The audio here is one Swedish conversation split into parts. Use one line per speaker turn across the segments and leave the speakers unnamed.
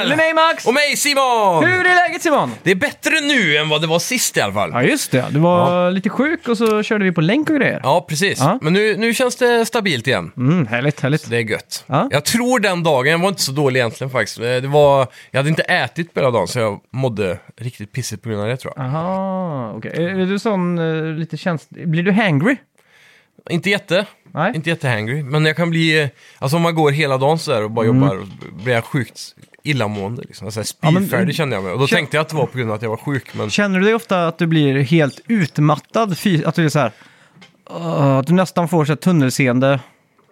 Alex!
Och mig Simon!
Hur är läget Simon?
Det är bättre nu än vad det var sist i alla fall.
Ja, just det. Du var lite sjuk och så körde vi på länk och grejer.
Ja, precis.
Ja.
Men nu, nu känns det stabilt igen.
Mm, härligt, härligt.
Det är gött.
Ja.
Jag tror den dagen, jag var inte så dålig egentligen faktiskt. Eh, Det var, jag hade inte ätit på hela dagen så jag mådde riktigt pissigt på grund av det tror jag.
Aha, okej. Är är du sån eh, lite känslig? Blir du hangry?
Inte jätte,
Nej?
inte jättehangry. Men jag kan bli, eh, alltså om man går hela dagen så där och
Mm.
bara jobbar, och blir jag sjukt illamående liksom. Alltså,
men-
spyfärdig kände jag mig. Och då
Kän-
tänkte jag att det var på grund av att jag var sjuk. Men
Känner du dig ofta att du blir helt utmattad? fy- Att du är så här... "Åh", att du nästan får så här tunnelseende?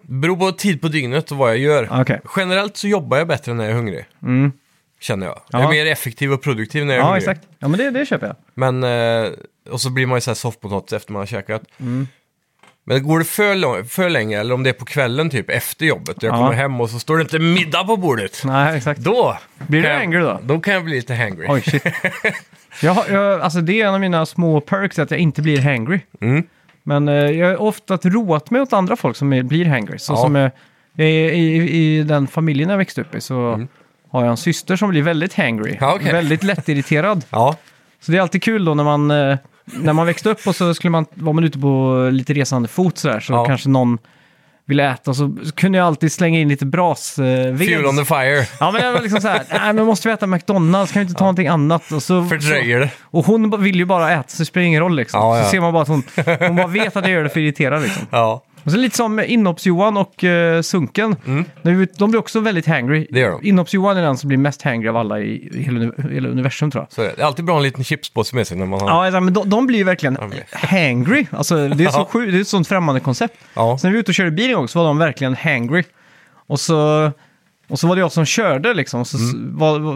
beror på tid på dygnet och vad jag gör.
Okej.
Generellt så jobbar jag bättre när jag är hungrig.
Mm.
Känner jag.
Ja.
Jag är mer effektiv och produktiv när jag är
Ja,
hungrig.
exakt. Ja, men det, det köper jag.
Men, eh, och så blir man ju såhär soffpotatis efter man har käkat.
Mm.
Men går det för, lång, för länge, eller om det är på kvällen typ, efter jobbet, och jag
Ja.
kommer hem och så står det inte middag på bordet.
Nej, exakt.
Då!
Blir du
kan jag-
angry då?
Då kan jag bli lite hangry.
Oj, shit. Jag, har- jag, alltså det är en av mina små perks, att jag inte blir hangry.
Mm.
Men eh, jag har ofta roat mig åt andra folk som är, blir hangry. Så
Ja.
som, eh, jag är i, I den familjen jag växte upp i så har jag en syster som blir väldigt hangry.
Mm. Ja, okej.
Väldigt lättirriterad.
Ja,
Så det är alltid kul då när man, eh, när man växte upp och så skulle man, var man ute på lite resande fot sådär, så
Ja.
kanske någon ville äta så kunde jag alltid slänga in lite brasved.
fuel on the fire.
Ja, men jag var liksom så här, nej men måste vi äta McDonalds, kan vi inte ta någonting annat? Och, så,
Fördröjer det.
och hon ba- vill ju bara äta, så det spelar ingen roll liksom.
Ja, ja.
Så ser man bara att hon, hon bara vet att jag gör det för att irritera liksom.
Ja,
Och så lite som inhopps-Johan och eh, Sunken. De, de blir också väldigt hangry.
Mm. Det gör de.
Inhopps-Johan är den som blir mest hangry av alla i i hela, uni- hela universum tror jag.
så är det. det är alltid bra att ha en liten chipspåse med sig när man har...
Ja, alltså, men de, de blir ju verkligen
blir-
hangry. Alltså, det, är så
Ja.
sju, det är ett sånt främmande koncept.
Ja.
Så när vi var ute och körde bil en gång så var de verkligen hangry. Och så, och så var det jag som körde liksom. Och så s-
Mm.
var, var,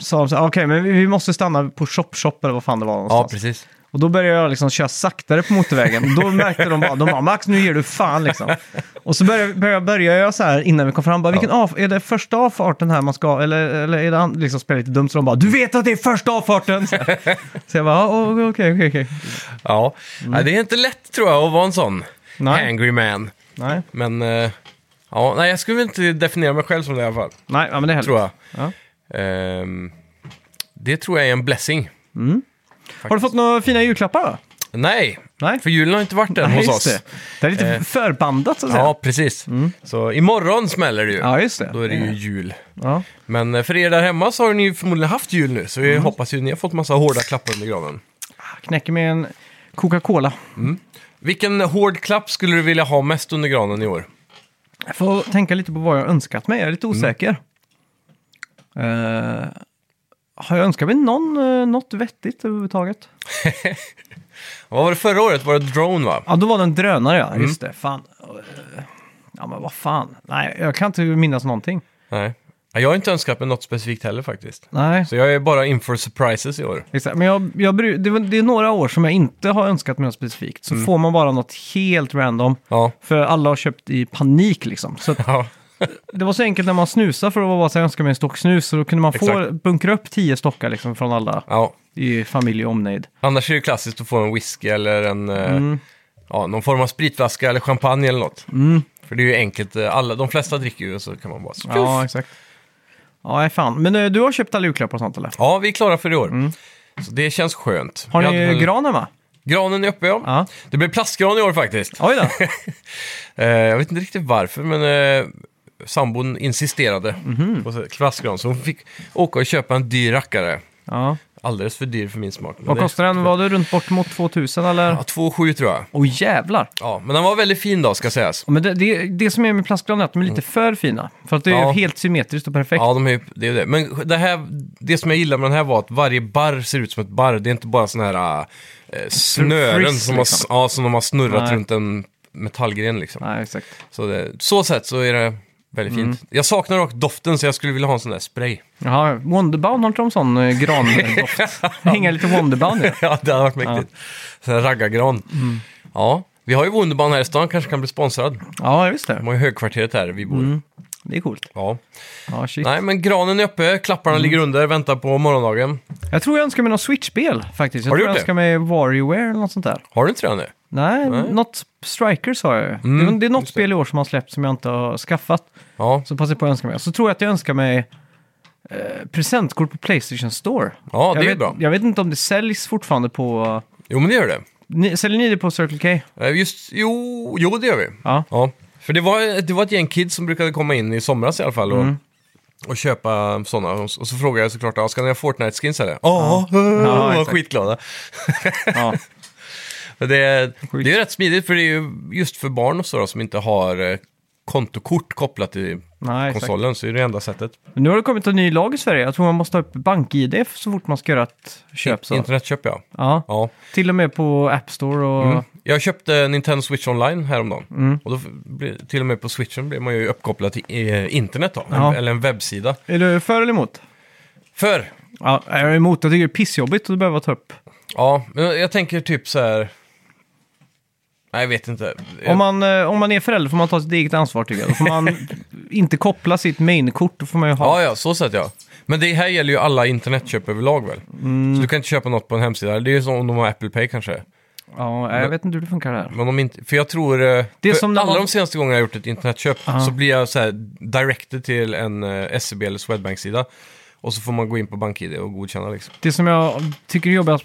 sa de så här, "Ah, okej men vi, vi måste stanna på shop shop eller vad fan det var
ja
någonstans.
precis.
och då började jag liksom köra saktare på motorvägen. Då märkte de bara, de bara Max nu ger du fan liksom. Och så började, började, började jag så här innan vi kom fram, bara, vilken av, är det första avfarten här man ska, eller, eller är det an-" liksom spelar lite dumt? Så de bara, du vet att det är första avfarten! Så, här. så jag bara, "Ja, okej, okej, okej.
Ja. Nej, det är inte lätt tror jag att vara en sån
Nej.
hangry man.
Nej,
Men, eh, ja, nej jag skulle väl inte definiera mig själv som det i alla fall,
nej, ja, men det är
tror jag.
Ja.
Ehm, det tror jag är en blessing.
Har du fått några fina julklappar då?
Nej,
Nej?
för julen har inte varit än
Nej,
hos
just
oss.
det. Det är lite förbandat så att säga.
Ja, precis. Så imorgon smäller det ju.
Ja, just det.
Då är det ju jul.
Ja. Mm.
Men eh, för er där hemma så har ni ju förmodligen haft jul nu, så vi hoppas ju ni har fått massa hårda klappar under graven.
Knäcker med en Coca-Cola.
Vilken hård klapp skulle du vilja ha mest under granen i år?
Jag får tänka lite på vad jag önskat mig. Jag är lite osäker. Eh, har jag önskat mig någon, eh, något vettigt överhuvudtaget?
Vad var det förra året? Var det drone va?
Ja, då var det en drönare, ja. Just det. Fan. Eh, Ja, men vad fan. Nej, jag kan inte minnas någonting.
Nej. Ja, Jag har inte önskat mig något specifikt heller faktiskt.
Nej.
Så jag är bara in for surprises i år.
Exakt. Men jag, jag, bry- det, var- det är några år som jag inte har önskat mig något specifikt. Så får man bara något helt random.
Ja.
För alla har köpt i panik liksom. Så att
Ja,
Det var så enkelt när man snusade för att vara så här, jag önskar mig en stock snus. Så då kunde man få
Exakt.
bunkra upp tio stockar liksom från alla
ja.
i familj och omnejd.
Annars är det ju klassiskt att få en whisky eller en, eh,
Mm.
ja, någon form av spritflaska eller champagne eller något. För det är ju enkelt, eh, alla, de flesta dricker ju och så kan man bara...
Mm. Ja, exakt. Ja, nej, fan. Men eh, du har köpt alla julklappar och sånt eller?
Ja, vi är klara för i år. Så det känns skönt.
Mm. Har
Vi
ni
hade väl-
gran hemma?
Granen är uppe ja.
Ja.
Det blev plastgran i år faktiskt.
Oj då.
Eh, jag vet inte riktigt varför, men eh, sambon insisterade
Mhm.
på så- plastgran. Så hon fick åka och köpa en dyr rackare.
Ja.
Alldeles för dyr för min smak. men
Vad
det-
kostar den? Var det runt bort mot 2000 eller?
Ja, 2,7 tror jag.
Åh jävlar!
Ja, men den var väldigt fin då, ska sägas.
Ja, Men det, det, det som är med plastgran är att de är lite för fina. För att det är
Mm. Ja.
helt symmetriskt och perfekt.
Ja, de är, ju- det är det. Men det, här, det som jag gillade med den här var att varje barr ser ut som ett barr. Det är inte bara sådana här eh, snören
Frizz,
som, har,
liksom.
ja, som de har snurrat
Nej.
runt en metallgren. Liksom.
Nej, Mm. exakt.
Så det, så sätt så är det väldigt fint. Jag saknar dock doften, så jag skulle vilja ha en sån där spray.
Jaha, Wonderbound, har inte de sån eh, grandoft? Hänga lite Wonderbound i.
ja, det hade varit mäktigt. Sån här raggargran.
Mm.
Ja, vi har ju Wunderbaum här i stan, kanske kan bli sponsrad.
Ja, just
De
det.
har ju högkvarteret här vi bor.
Mm. Det är coolt.
Ja.
Ja, shit.
Nej, men granen är uppe,
Mm.
klapparna ligger under, väntar på morgondagen.
Jag tror jag önskar mig något Switch-spel faktiskt. Jag
Har du
tror jag
gjort det?
önskar mig Warrior eller något sånt där.
Har du inte det nu?
Nej, något Strikers har jag ju.
Mm,
det, det är något spel i år som har släppts som jag inte har skaffat.
Ja,
Så passar jag på att önska mig. Så tror jag att jag önskar mig eh, presentkort på Playstation Store.
Ja, det
jag
är ju
vet,
bra.
Jag vet inte om det säljs fortfarande på...
Jo, men det gör det.
Ni, säljer ni det på Circle K?
Eh, Just, jo, jo det gör vi.
Ja.
Ja. För det var, det var ett gäng kids som brukade komma in i somras i alla fall och,
Mm.
och köpa sådana. Och så och så frågade jag såklart, "Ja, ska ni ha Fortnite-skins eller? Ja, de
Ja,
var
exakt.
skitglada.
Ja.
Men Det, det är ju rätt smidigt för det är ju just för barn och så då, som inte har eh, kontokort kopplat till
Nej, exakt.
konsolen så är det enda sättet.
Men nu har det kommit en ny lag i Sverige. Jag tror man måste ha upp bank-id så fort man ska göra ett köp. Så.
Internetköp ja.
Ja.
ja.
Till och med på App Store och...
Jag köpte Nintendo Switch Online häromdagen.
Mm.
Och då blir, till och med på Switchen blir man ju uppkopplad till eh, internet då,
Ja.
eller en webbsida.
Är du för eller emot?
För,
Ja, jag är emot. Jag tycker det är pissjobbigt att behöva ta upp.
ja, men jag tänker typ så här... Nej, jag vet inte.
Om man, eh, om man är förälder får man ta sitt eget ansvar tycker jag. Då får man inte koppla sitt mainkort. Då får man ju ha...
Ja, ja, så sett ja. Men det här gäller ju alla internetköp överlag väl?
Mm.
Så du kan inte köpa något på en hemsida. Det är ju som om de har Apple Pay kanske.
Ja, jag vet inte hur det funkar där.
Men om inte, för jag tror... Det
är
för
som när
alla
man-
de senaste gångerna jag har gjort ett internetköp så blir jag så här directed till en eh, SEB eller Swedbank-sida. Och så får man gå in på BankID och godkänna liksom.
Det som jag tycker är jobbigast,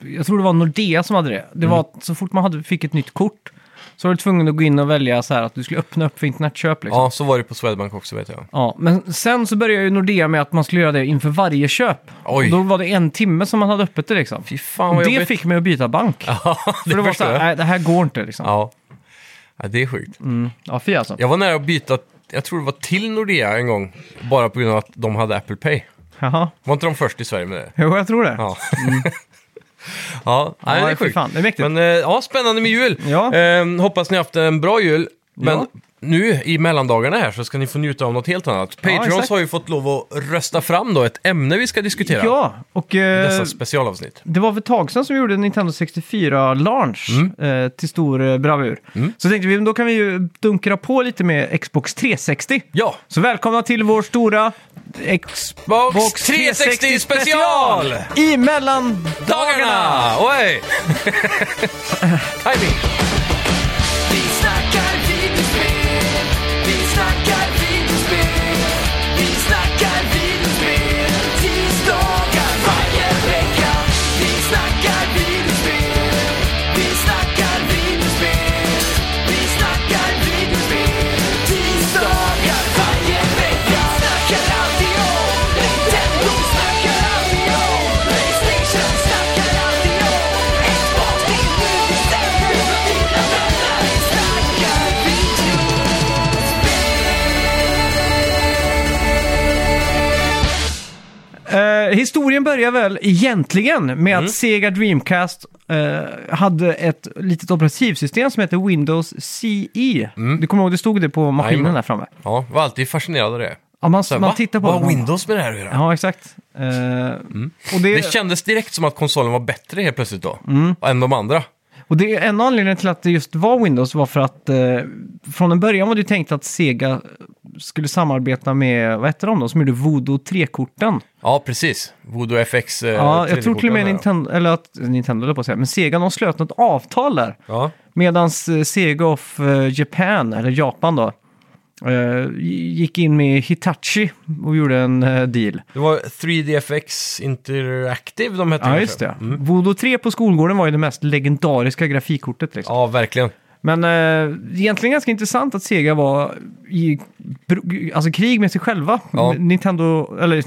jag tror det var Nordea som hade det. Det
Mm.
var att så fort man hade, fick ett nytt kort så var du tvungen att gå in och välja så här att du skulle öppna upp för internetköp. Liksom. Ja.
Ja, så var det på Swedbank också vet jag.
men sen så började ju Nordea med att man skulle göra det inför varje köp.
Oj.
Och då var det en timme som man hade öppet det liksom.
Fy fan vad
det
jobbigt.
fick mig att byta bank.
Ja, det,
För det var så
förstår
här,
jag.
nej det här går inte liksom. Ja,
Ja. ja, det är sjukt.
fy alltså.
Jag var nära att byta, jag tror det var till Nordea en gång, bara på grund av att de hade Apple Pay.
Jaha.
Var inte de först i Sverige med det?
Jo, jag tror det.
Ja.
Mm.
ja, nej, det är
fy
sjukt.
fan, det är mäktigt.
Men eh, ja, spännande med jul.
Ja.
Eh, hoppas ni haft en bra jul. Men
Ja.
nu i mellandagarna här så ska ni få njuta av något helt annat. Patreons
exakt.
har ju fått lov att rösta fram då ett ämne vi ska diskutera.
Ja, och
i
eh,
Dessa specialavsnitt.
det var för ett tag sedan som vi gjorde en Nintendo 64-launch
Mm.
eh, till stor eh, bravur. Så tänkte vi, men då kan vi ju dunkra på lite med Xbox 360.
Ja,
Så välkomna till vår stora Xbox
Box 360 special!
I mellan dagarna!
dagarna! Oj! Timing.
Vi snackar videospel, vi snackar videospel, vi snackar videospel, tisdagar varje vecka. Vi snackar videospel, vi snackar videospel, vi snackar videospel, tisdagar varje vecka. Snackar alltid om Nintendo, snackar alltid om Playstation, snackar alltid om Xbox, det är nu vi sänder för dina vänner. Vi snackar video.
Eh, historien börjar väl egentligen med
Mm.
att Sega Dreamcast eh, hade ett litet operativsystem som heter Windows CE. Du kommer ihåg, det stod det på maskinen
Mm. Jajamän.
där framme.
Ja, var alltid fascinerad av det.
Ja, man,
Så här,
man
va?
tittar på
Vad
det.
har
man-
Windows med det här att göra?
Ja, exakt. Eh, och, det,
Det kändes direkt som att konsolen var bättre helt plötsligt då,
Mm.
än de andra.
och det är en anledning till att det just var Windows var för att eh, från en början var det ju tänkt att Sega skulle samarbeta med, vad hette de då, som gjorde Voodoo 3-korten.
Ja, precis. Voodoo FX. eh,
Ja, jag tror till och med
3D-korten,
Nintendo, eller att, Nintendo höll jag på att säga, men Sega de slöt något avtal där.
Ja.
Medan Sega of eh, Japan, eller Japan då, eh, gick in med Hitachi och gjorde en eh, deal.
Det var 3DFX Interactive de hette.
Ja,
kanske. Mm.
just det. Mm. Voodoo 3 på skolgården var ju det mest legendariska grafikkortet. Liksom.
Ja, verkligen.
Men eh, egentligen ganska intressant att Sega var i br- alltså, krig med sig själva.
Ja.
N- Nintendo, eller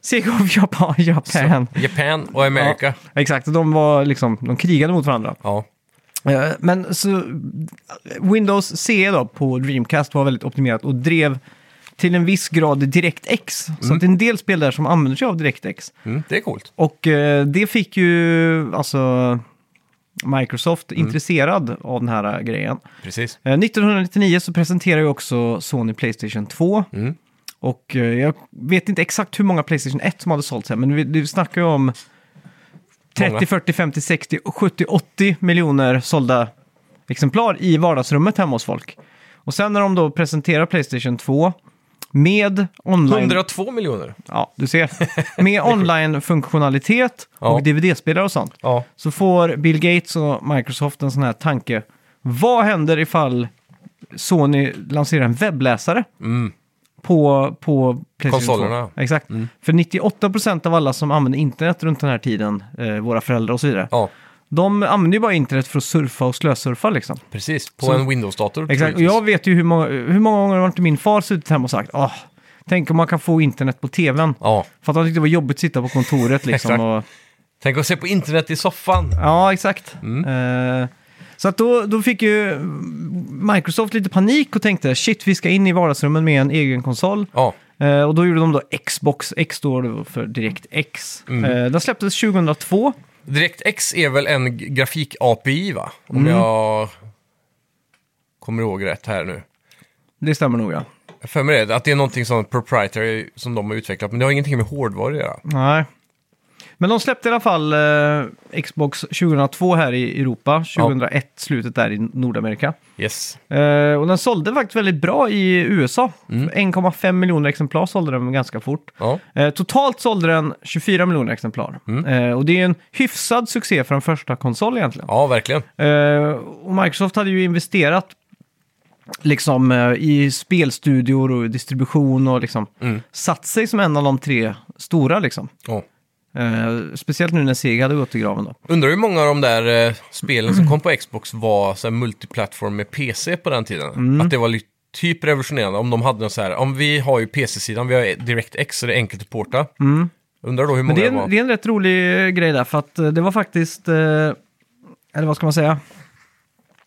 Sega of Japan. Japan.
Japan och America. Ja.
Ja, exakt, de, var, liksom, de krigade mot varandra. Eh, Men så Windows CE då på Dreamcast var väldigt optimerat och drev till en viss grad DirectX. Så att det är en del spel där som använder sig av DirectX.
Mm, det är coolt.
Och eh, det fick ju alltså Microsoft intresserad av den här eh, grejen.
Precis.
Eh, 1999 så presenterade ju också Sony Playstation 2.
Mm.
Och eh, jag vet inte exakt hur många Playstation 1 som hade sålts här, men vi, vi snackar ju om 30,
Många.
40, 50, 60, 70, 80 miljoner sålda exemplar i vardagsrummet hemma hos folk. Och sen när de då presenterar Playstation 2 med online...
102 miljoner.
Ja, du ser. Med online-funktionalitet
Ja.
och DVD-spelare och sånt.
Ja.
Så får Bill Gates och Microsoft en sån här tanke.
Mm.
Vad händer ifall Sony lanserar en webbläsare? på, på Playstation
Konsolerna.
2. Exakt. För 98% av alla som använde internet runt den här tiden, eh, våra föräldrar och så vidare,
Ja,
de använde ju bara internet för att surfa och slösurfa liksom.
precis. På
Så-
en Windows-dator.
Exakt, och
troligtvis.
jag vet ju hur många, hur många gånger har inte min far suttit hemma och sagt Åh, tänk om man kan få internet på tvn.
Ja.
För att han tyckte det var jobbigt att sitta på kontoret liksom.
Exakt.
och,
Tänk att se på internet i soffan.
ja, exakt.
Mm.
Eh, så att då, då fick ju Microsoft lite panik och tänkte shit, vi ska in i vardagsrummen med en egen konsol.
Ja,
Eh, och då gjorde de då Xbox, X står då för direkt X. Eh, den släpptes 2002.
DirectX är väl en g- grafik-API va? Om
Mm.
jag kommer ihåg rätt här nu.
Det stämmer nog ja.
Jag för mig det, att det är någonting som proprietary som de har utvecklat, men det har ingenting med hårdvara att göra.
Nej. Men de släppte i alla fall eh, Xbox 2002 här i Europa, 2001 slutet där i Nordamerika.
Yes.
Eh, och den sålde faktiskt väldigt bra i USA. 1,5 miljoner exemplar sålde den ganska fort.
Ja,
Eh, totalt sålde den 24 miljoner exemplar. Eh, och det är en hyfsad succé för en första konsol egentligen.
ja verkligen.
Eh, och Microsoft hade ju investerat liksom, eh, i spelstudior och distribution och liksom,
Mm.
satt sig som en av de tre stora. Liksom.
Ja.
Eh, speciellt nu när Sega hade gått i graven då.
Undrar hur många av de där eh, spelen som kom på Xbox var så här, multiplattform med PC på den tiden.
Mm.
Att det var li- typ revolutionerande om de hade något så här, om vi har ju PC-sidan, vi har DirectX så det är enkelt att porta. Undrar då hur
Mm. Men
många
det
det,
är,
var.
en, det är en rätt rolig eh, grej där, för att eh, det var faktiskt, eh, eller vad ska man säga,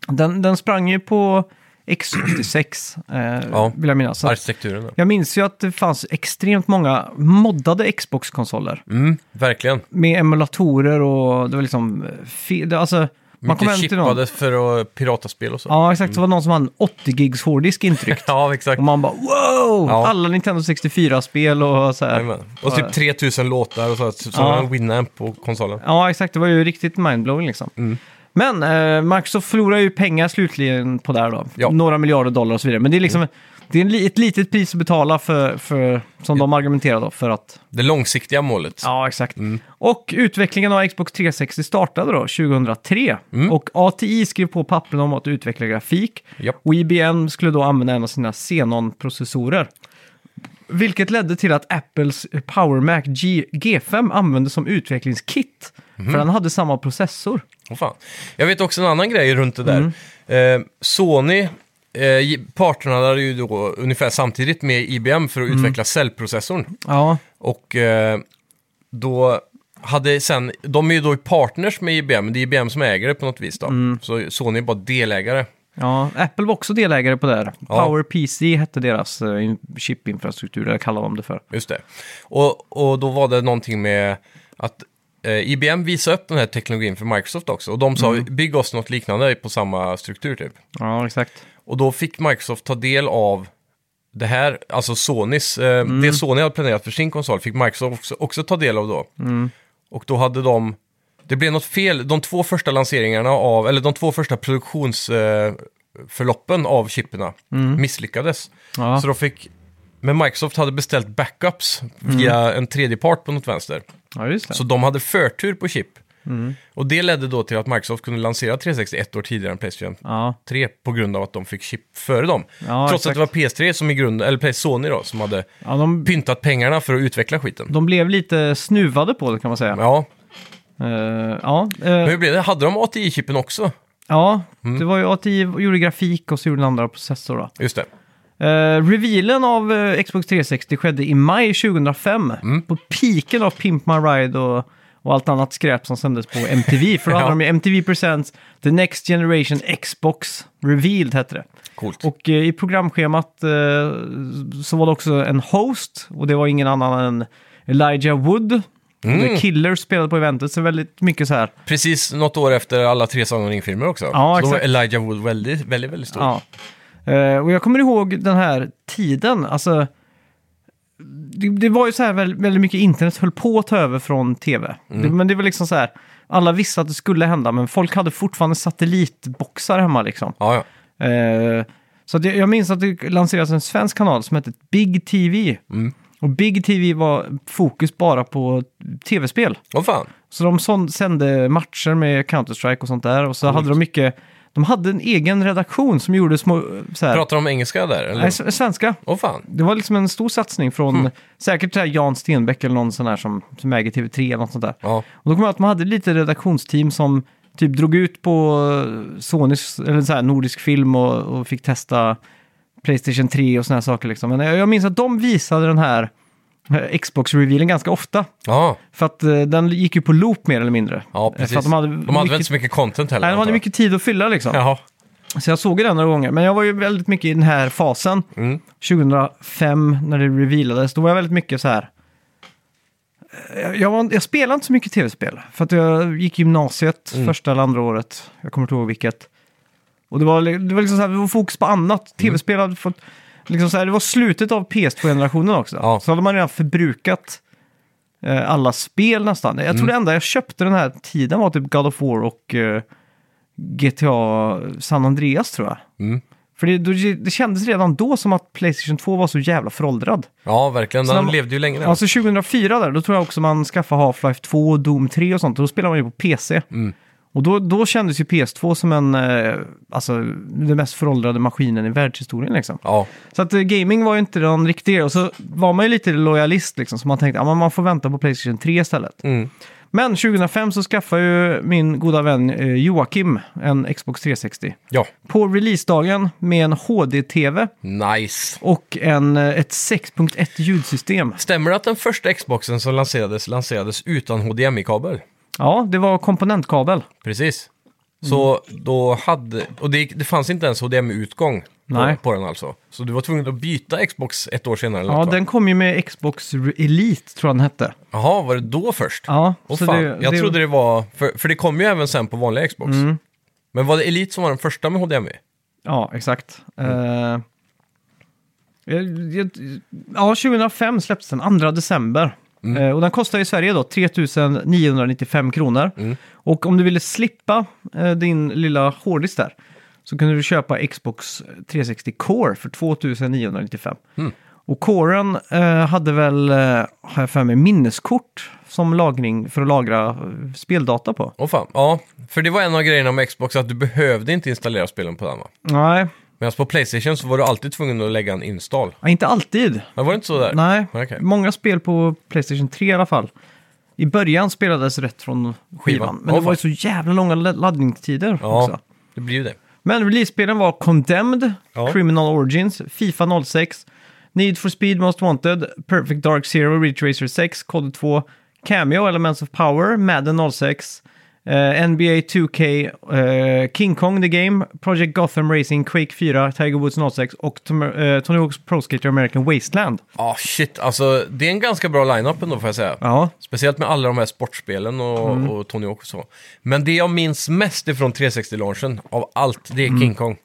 den, den sprang ju på X86, eh,
Ja.
vill jag minnas. Så att
Arkitekturen. då.
Jag minns ju att det fanns extremt många moddade Xbox-konsoler
Mm, verkligen.
med emulatorer och det var liksom, eh, fe- det, alltså, man kom
Mycket
hem till någon.
chippade för att pirata spel och så.
Ja, exakt. Så var det någon som hade en 80 gigs hårddisk intryckt.
Ja, exakt.
och man bara wow!
Ja.
Alla Nintendo 64-spel och så här.
Jajamän. Och typ 3000 låtar och så, så så
Ja.
en Winamp på konsolen.
Ja, exakt. Det var ju riktigt mindblowing liksom.
Mm.
Men eh, Microsoft förlorar ju pengar slutligen på det här då.
Ja. Mm.
Några miljarder dollar och så vidare. Men det är liksom det är en li- ett litet pris att betala för, för som de argumenterar då, för att...
Det långsiktiga målet.
Ja, exakt. Och utvecklingen av Xbox 360 startade då 2003.
Mm.
Och ATI skrev på pappren om att utveckla grafik.
Japp.
Och IBM skulle då använda en av sina Xenon-processorer. Vilket ledde till att Apples Power Mac G- G5 användes som utvecklingskit.
Mhm.
För den hade samma processor.
Åh, fan. Jag vet också en annan grej runt det där.
Mm.
Eh, Sony, eh, ge- parterna där är ju då ungefär samtidigt med IBM för att
Mm.
utveckla cellprocessorn.
Ja,
Och eh, då hade sen, de är ju då partners med IBM, men det är IBM som äger det på något vis då.
Mm.
Så Sony är bara delägare.
ja. Apple var också delägare på det här.
Ja.
Power PC hette deras eh, in- chipinfrastruktur, eller kallar de det för.
Just det. Och, och då var det någonting med att eh, IBM visade upp den här teknologin för Microsoft också. Och de sa, bygg oss något liknande på samma struktur typ.
Ja, exakt.
Och då fick Microsoft ta del av det här, alltså Sonys, eh, det Sony hade planerat för sin konsol fick Microsoft också, också ta del av då. Och då hade de, det blev något fel, de två första lanseringarna av, eller de två första produktionsförloppen eh, förloppen av chipperna misslyckades.
Ja.
Så de fick, men Microsoft hade beställt backups via en tredjepart på något vänster.
Mm. Ja, Mm. just det.
Så de hade förtur på chip. Och det ledde då till att Microsoft kunde lansera 360 ett år tidigare än Playstation
Ja.
3 på grund av att de fick chip före dem.
Ja,
Trots
exakt.
att det var PS3 som i grund, eller PS Sony då, som hade
Ja, de,
pyntat pengarna för att utveckla skiten.
de blev lite snuvade på det kan man säga.
Ja,
Eh, ja, eh,
men hur Mm. blev det? Hade de ATI-chippen också?
ja det var ju ATI gjorde grafik och så gjorde den andra processor. Då.
Just det.
Eh, revealen av eh, Xbox 360 skedde i maj 2005
Mm.
på piken av Pimp My Ride och, och allt annat skräp som sändes på MTV. För då hade
Ja.
de ju MTV Presents The Next Generation Xbox Revealed hette det.
Coolt.
Och eh, i programschemat eh, så var det också en host och det var ingen annan än Elijah Wood. The Killer spelade på eventet, så väldigt mycket så här.
Precis något år efter alla tre Sagan om ringen-filmer också.
Ja,
så då var
exakt.
Elijah Wood väldigt, väldigt, väldigt stor.
Ja. Eh, och jag kommer ihåg den här tiden, alltså. Det, det var ju så här väldigt, väldigt mycket internet höll på att ta över från tv. Det, men det var liksom så här, alla visste att det skulle hända, men folk hade fortfarande satellitboxar hemma liksom.
Ja, ja.
Eh, så att jag, jag minns att det lanserades en svensk kanal som hette Big TV. Och Big TV var fokus bara på tv-spel.
Åh fan.
Så de sån, sände matcher med Counter-Strike och sånt där. Och så hade de mycket, de De hade en egen redaktion som gjorde små... eh, Så här,
Pratar de engelska där? Eller?
nej, s- svenska.
Åh fan.
Det var liksom en stor satsning från säkert så här Jan Stenbeck eller någon sån här som, som äger TV3 eller något sånt där.
Ja.
Och då kom jag att man hade lite redaktionsteam som typ drog ut på eh, Sonys, eller så här nordisk film och, och fick testa Playstation 3 och såna här saker liksom. Men jag, jag minns att de visade den här eh, Xbox-revealen ganska ofta.
Ja,
För att eh, den gick ju på loop mer eller mindre.
ja
Eh,
precis.
För att de hade, mycket,
inte så mycket content heller.
nej, de hade
antar jag.
mycket tid att fylla liksom.
Jaha.
Så jag såg ju den några gånger. Men jag var ju väldigt mycket i den här fasen.
Mm.
2005 när det revealades, då var jag väldigt mycket så här. Jag, jag, var, jag spelade inte så mycket tv-spel. För att jag gick gymnasiet första eller andra året. Jag kommer inte ihåg vilket. Och det var, li- det var liksom så här, det var fokus på annat. Tv-spel hade fått... Liksom så här, det var slutet av PS2-generationen också.
Ja.
Så hade man redan förbrukat eh, alla spel nästan. Jag tror det enda jag köpte den här tiden var typ God of War och eh, GTA San Andreas tror jag.
Mm.
För det, då, det kändes redan då som att Playstation 2 var så jävla föråldrad.
Ja, verkligen.
Så
Den
de-
levde ju länge. där.
Alltså 2004 där, då tror jag också man skaffade Half-Life 2 och Doom 3 och sånt. Och då spelade man ju på PC. Och då, då kändes ju PS2 som en, eh, alltså den mest föråldrade maskinen i världshistorien liksom.
Ja,
Så att eh, gaming var ju inte någon riktig grej. Och så var man ju lite lojalist liksom. Så man tänkte, ja men man får vänta på Playstation 3 istället.
Mm.
Men 2005 så skaffade ju min goda vän eh, Joakim en Xbox 360.
ja.
På releasedagen med en HD-TV
Nice.
och en, eh, ett 6.1 ljudsystem.
Stämmer det att den första Xboxen som lanserades, lanserades utan HDMI-kabel?
Ja, det var komponentkabel.
Precis.
Mm.
Så då hade... Och det, det fanns inte ens HDMI-utgång på,
Nej.
på den alltså. Så du var tvungen att byta Xbox ett år senare eller
Ja,
något, va?
den kom ju med Xbox Elite tror jag den hette.
Jaha, var det då först?
Ja,
Åh fan. jag trodde det var... För, för det kom ju även sen på vanliga Xbox.
Mm.
Men var det Elite som var den första med HDMI?
Ja, exakt. Eh, jag- jag- ja, 2005 släpptes den 2 december. Eh, och den kostar i Sverige då 3995 kronor. Och om du ville slippa eh, din lilla hårddisk där så kunde du köpa Xbox 360 Core för 2995. Och coren eh, hade väl, eh, har jag för mig, minneskort som lagring för att lagra eh, speldata på.
Åh fan. Ja, för det var en av grejerna med Xbox att du behövde inte installera spelen på den va?
Nej,
Medan på Playstation så var du alltid tvungen att lägga en install.
ja, inte alltid.
Men var det inte så där?
Nej,
Okej.
många spel på Playstation 3 i alla fall. I början spelades rätt från skivan,
Skivan.
men
Ja,
det var ju så
fan.
jävla långa la- laddningstider
Ja,
också.
det blir ju det.
Men release-spelen var Condemned,
Ja.
Criminal Origins, Fifa 06, Need for Speed Most Wanted, Perfect Dark Zero, Ridge Racer 6, Cod 2, Cameo, Elements of Power, Madden 06, eh, NBA 2K, eh, King Kong The Game, Project Gotham Racing, Quake 4, Tiger Woods 06 och Tom, eh, Tony Hawk's Pro Skater American Wasteland.
Ja, shit. Alltså, det är en ganska bra line-up ändå får jag säga.
Ja, Mm.
Speciellt med alla de här sportspelen och, och Tony Hawk och så. Men det jag minns mest ifrån 360-launchen av allt, det är King Kong.
Mm.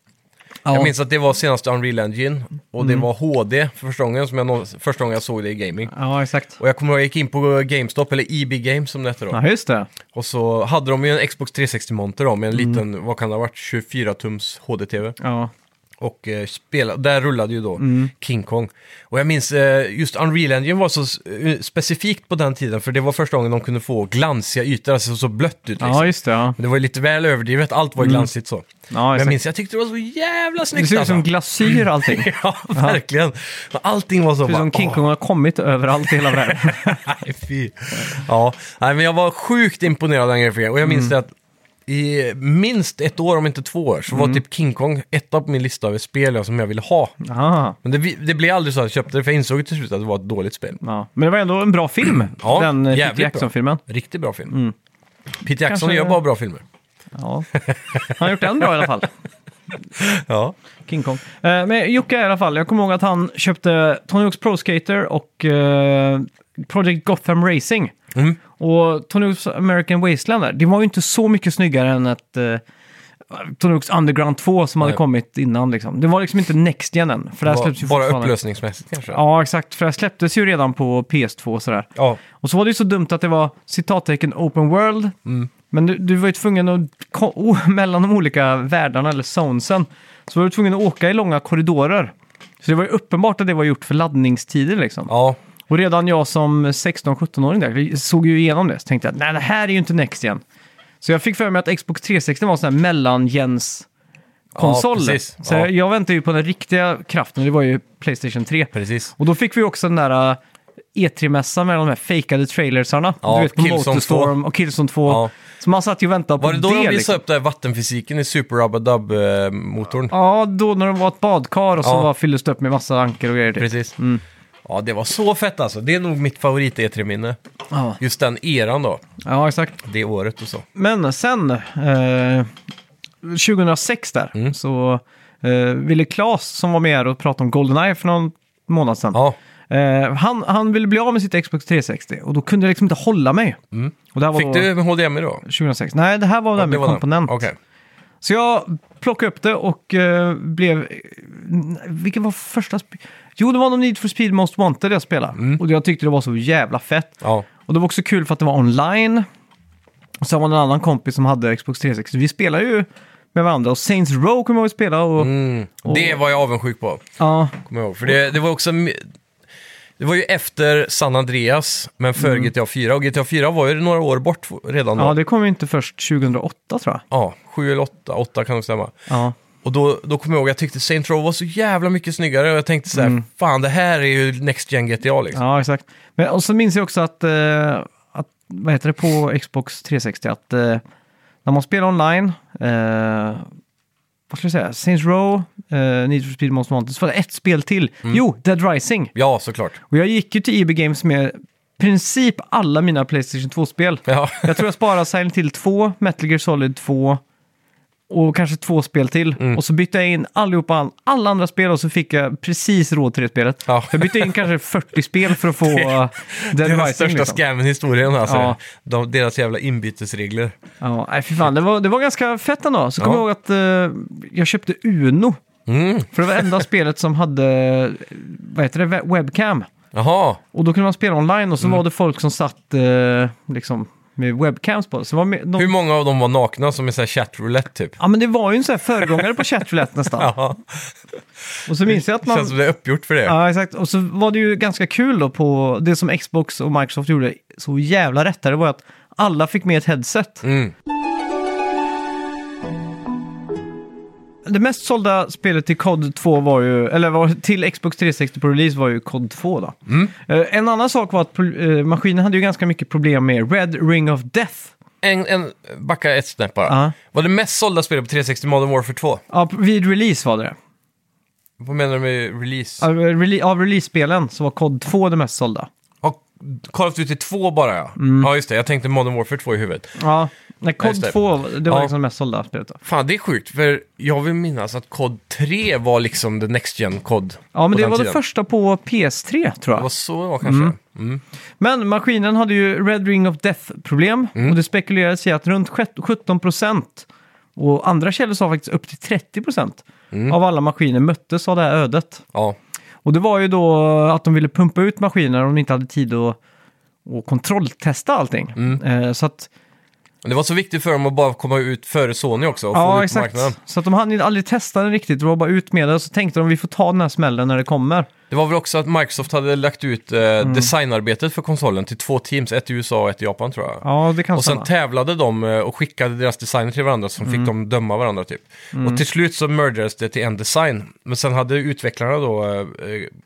ja. Mm.
Jag minns att det var senaste Unreal Engine och det var HD för första gången, som jag, någonsin- första gången jag såg det i gaming.
Ja, exakt.
Och jag kommer ihåg jag gick in på GameStop, eller EB Games som det hette då.
Ja, just det.
Och så hade de ju en Xbox 360-monter då, med
Mm.
en liten, vad kan det ha varit, 24-tums HD-TV.
Ja.
Och eh, spela, där rullade ju då
Mm.
King Kong. Och jag minns, eh, just Unreal Engine var så s- eh, specifikt på den tiden, för det var första gången de kunde få glansiga ytor, alltså så blött ut liksom.
ja, just det. Ja.
Men det var ju lite väl överdrivet, allt var ju glansigt så.
Ja,
Men jag
exakt.
minns, jag tyckte det var så jävla
Det
snyggt
ser ut
alltså.
som glasyr allting. Det
Ja, verkligen. Men Allting var så
ser ut som King Kong har kommit överallt i hela världen.
Nej, fy. Ja, nej, men jag var sjukt imponerad av den grafiken. Och jag
Mm.
minns det att i minst ett år, om inte två år, så var
Mm.
typ King Kong etta på min lista över spel som jag ville ha.
Aha.
Men det, vi- det blev aldrig så att jag köpte det, för jag insåg ju till slut att det var ett dåligt spel.
Ja. Men det var ändå en bra film,
Ja,
den eh,
jävligt
Peter
bra.
Jackson-filmen.
Riktigt bra film. Peter Jackson
Mm. Kanske-
gör bara bra filmer.
Ja. Han har gjort den bra i alla fall,
Ja.
King Kong. Eh, Men Jocke i alla fall, jag kommer ihåg att han köpte Tony Hawk's Pro Skater och eh, Project Gotham Racing.
Mm.
Och Tony Hawk's American Wasteland där, det var ju inte så mycket snyggare än att eh, Tony Hawk's Underground 2 som hade
Nej.
kommit innan. Liksom. Det var liksom inte Next Gen än, för det här släpps ju
Bara- bara
fortfarande.
upplösningsmässigt kanske.
Ja, exakt. För det här släpptes ju redan på PS2 och sådär.
ja.
Och så var det ju så dumt att det var citattecken open world.
Mm.
Men du, du var ju tvungen att, ko- o- mellan de olika världarna eller zonesen, så var du tvungen att åka i långa korridorer. Så det var ju uppenbart att det var gjort för laddningstider liksom.
ja.
Och redan jag som 16-17-åring där såg ju igenom det. Så tänkte jag, nej det här är ju inte Next igen. Så jag fick för mig att Xbox 360 var en sån här mellangens konsoler.
precis.
så
Ja.
jag väntade ju på den riktiga kraften, det var ju Playstation 3.
Precis.
Och då fick vi också den där äh, E3-mässan med de här fejkade trailersarna.
Ja,
du vet, på
Killzone
Motorstorm och Killzone 2.
Ja.
Så man satt ju och väntade på
Var det då de visade
liksom.
upp det här vattenfysiken i Super Rubber eh, Dub-motorn?
Ja, då när det var ett badkar och så
Ja.
var fylldes det upp med massa anker och grejer. Typ.
Precis. Ja, det var så fett alltså. Det är nog mitt favorit E E3-minne.
Ja.
Just den eran då,
ja, exakt.
det året och så.
Men sen, eh, 2006 där,
Mm.
så eh, ville Claes som var med här och pratade om Goldeneye för någon månad sedan.
Ja,
Eh, han, han ville bli av med sitt Xbox 360 och då kunde jag liksom inte hålla mig. Och det här var
Mm. fick
då
du HDMI då?
2006. Nej, det här var den
det
med
var den.
komponent.
Okej.
Så jag plockade upp det och eh, blev... Vilken var första... Sp- jo, det var någon Need for Speed Most Wanted jag spelade. Och jag tyckte det var så jävla fett.
Ja.
Och det var också kul för att det var online. Och sen var det en annan kompis som hade Xbox 360. Vi spelade ju med varandra och Saints Row kommer jag ihåg att spela. Och,
Mm. Det var jag avundsjuk på,
ja,
kommer jag ihåg. För det, det var också... mi- Det var ju efter San Andreas, men före GTA 4. Och GTA 4 var ju några år bort redan då.
Mm. ja,
Ja,
det kom ju inte först 2008 tror jag.
sju eller åtta. Åtta kan nog stämma.
Ja,
Och då, då kommer jag ihåg, jag tyckte Saint Row var så jävla mycket snyggare. Och jag tänkte så här,
Mm.
fan det här är ju Next Gen GTA liksom.
ja exakt. Men, och så minns jag också att, eh, att... Vad heter det på Xbox 360? Att eh, när man spelar online... Eh, vad ska jag säga? Saints Row, eh, Need for Speed Most Wanted. Så var det ett spel till. Jo, Dead Rising.
Ja, såklart.
Och jag gick ju till EB Games med i princip alla mina Playstation 2-spel.
Ja,
Jag tror jag sparar Silent Hill 2, Metal Gear Solid 2 och kanske två spel till. Och så bytte jag in allihopa, alla andra spel och så fick jag precis råd till det spelet.
Ja.
Jag bytte in kanske 40 spel för att få uh,
det
Dead
är den
Rising.
största
Liksom.
scammen i historien alltså.
Ja.
De, deras jävla inbytesregler.
Ja, nej, fy fan. Det, var, det var ganska fett ändå. Så kommer
Ja.
jag ihåg att eh, jag köpte Uno.
Mm.
För det var enda spelet som hade eh, vad heter det, we- webcam.
Jaha,
Och då kunde man spela online och så
Mm.
var det folk som satt eh, liksom, med webcams på. Så var med, de,
hur många av dem var nakna som är så här chatroulette typ?
Ja, men det var ju en sån här föregångare på chatroulette nästan.
Ja,
Och så minns jag att
det känns
man...
som det är uppgjort för det.
Ja, exakt. Och så var det ju ganska kul då på det som Xbox och Microsoft gjorde så jävla rätt. där, Det var att alla fick med ett headset.
Mm.
Det mest sålda spelet till COD 2 var ju, eller var, till Xbox 360 på release var ju COD 2 då.
Mm.
Eh, en annan sak var att pro- eh, maskinen hade ju ganska mycket problem med Red Ring of Death.
En, en, backa ett snäpp bara.
Ja.
Var det mest sålda spelet på 360 Modern Warfare 2?
Ja, p- vid release var det det.
Vad menar du med release?
Av, eh, rele- av release-spelen så var COD 2 det mest sålda.
Ja. Call of Duty 2 bara ja.
Mm.
Ja just det, jag tänkte Modern Warfare 2 i huvudet.
Ja, nej, COD
just det.
2 det var
Ja.
liksom det mest sålda spelet då.
Fan det är sjukt, för jag vill minnas att COD 3 var liksom the next gen COD.
Ja, men
på
det
den
var det
tiden.
första på PS3 tror
Det var
jag.
så det var kanske. Mm.
Men maskinen hade ju Red Ring of Death-problem
Mm.
och det spekulerades i att runt sjut- 17 procent och andra källor sa faktiskt upp till 30 procent
Mm.
av alla maskiner möttes av det här ödet.
Ja.
Och det var ju då att de ville pumpa ut maskiner om de inte hade tid att, att kontrolltesta allting.
Mm.
Eh, Så att,
Men det var så viktigt för dem att bara komma ut före Sony också och få
ja,
ut på
exakt.
marknaden.
Så att de hann ju aldrig testa den riktigt, det var bara ut med det och så tänkte de vi får ta den här smällen när det kommer.
Det var väl också att Microsoft hade lagt ut eh,
Mm.
designarbetet för konsolen till två teams, ett i USA och ett i Japan tror jag.
Ja, det kan
Och sen
stämma.
tävlade de eh, och skickade deras designer till varandra som
Mm.
fick dem döma varandra typ. Och till slut så mergades det till en design. Men sen hade utvecklarna då, eh, eh,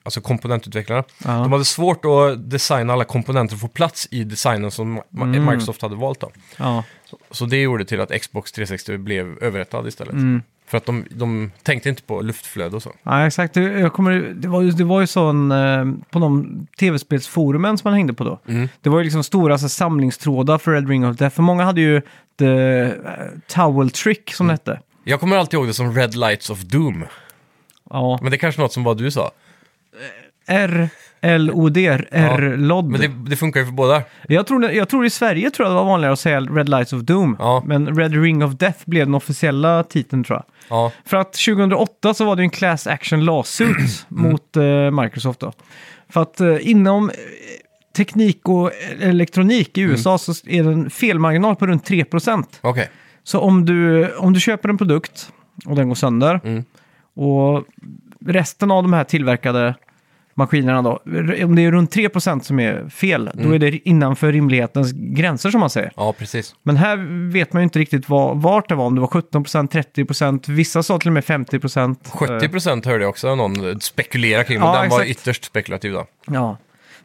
alltså komponentutvecklarna,
Ja.
de hade svårt att designa alla komponenter och få plats i designen som Ma-
Mm.
Microsoft hade valt då.
Ja.
Så det gjorde till att Xbox 360 blev överrättad istället.
Mm.
För att de, de tänkte inte på luftflöde och så.
Ja, exakt. Det- Jag kommer, det, var ju, det var ju sån eh, på de tv-spelsforumen som man hängde på då. Det var ju liksom stora så, här, samlingstrådar för Red Ring of Death. För många hade ju The eh, Towel Trick som det hette.
Jag kommer alltid ihåg det som Red Lights of Doom.
Ja.
Men det är kanske något som bara du sa.
R-L-O-D, R-LOD.
Men det, det funkar ju för båda.
Jag, tror, det- jag tror i Sverige tror jag det var vanligare att säga Red Lights of Doom.
Ja.
Men Red Ring of Death blev den officiella titeln tror jag.
Ja.
För att 2008 så var det ju en class action lawsuit mot eh, Microsoft då. För att eh, inom eh, teknik och eh, elektronik i USA så är det en felmarginal på runt 3%.
Okej.
Så om du, om du köper en produkt och den går sönder och resten av de här tillverkade maskinerna då, om det är runt 3% som är fel, då är det innanför rimlighetens gränser som man säger.
Ja, precis.
Men här vet man ju inte riktigt var, vart det var, om det var 17%, 30%, vissa sa till och med 50%.
70
Eh,
procent hörde jag också någon spekulera kring, men
Ja,
den var
exakt.
ytterst spekulativ då.
Ja.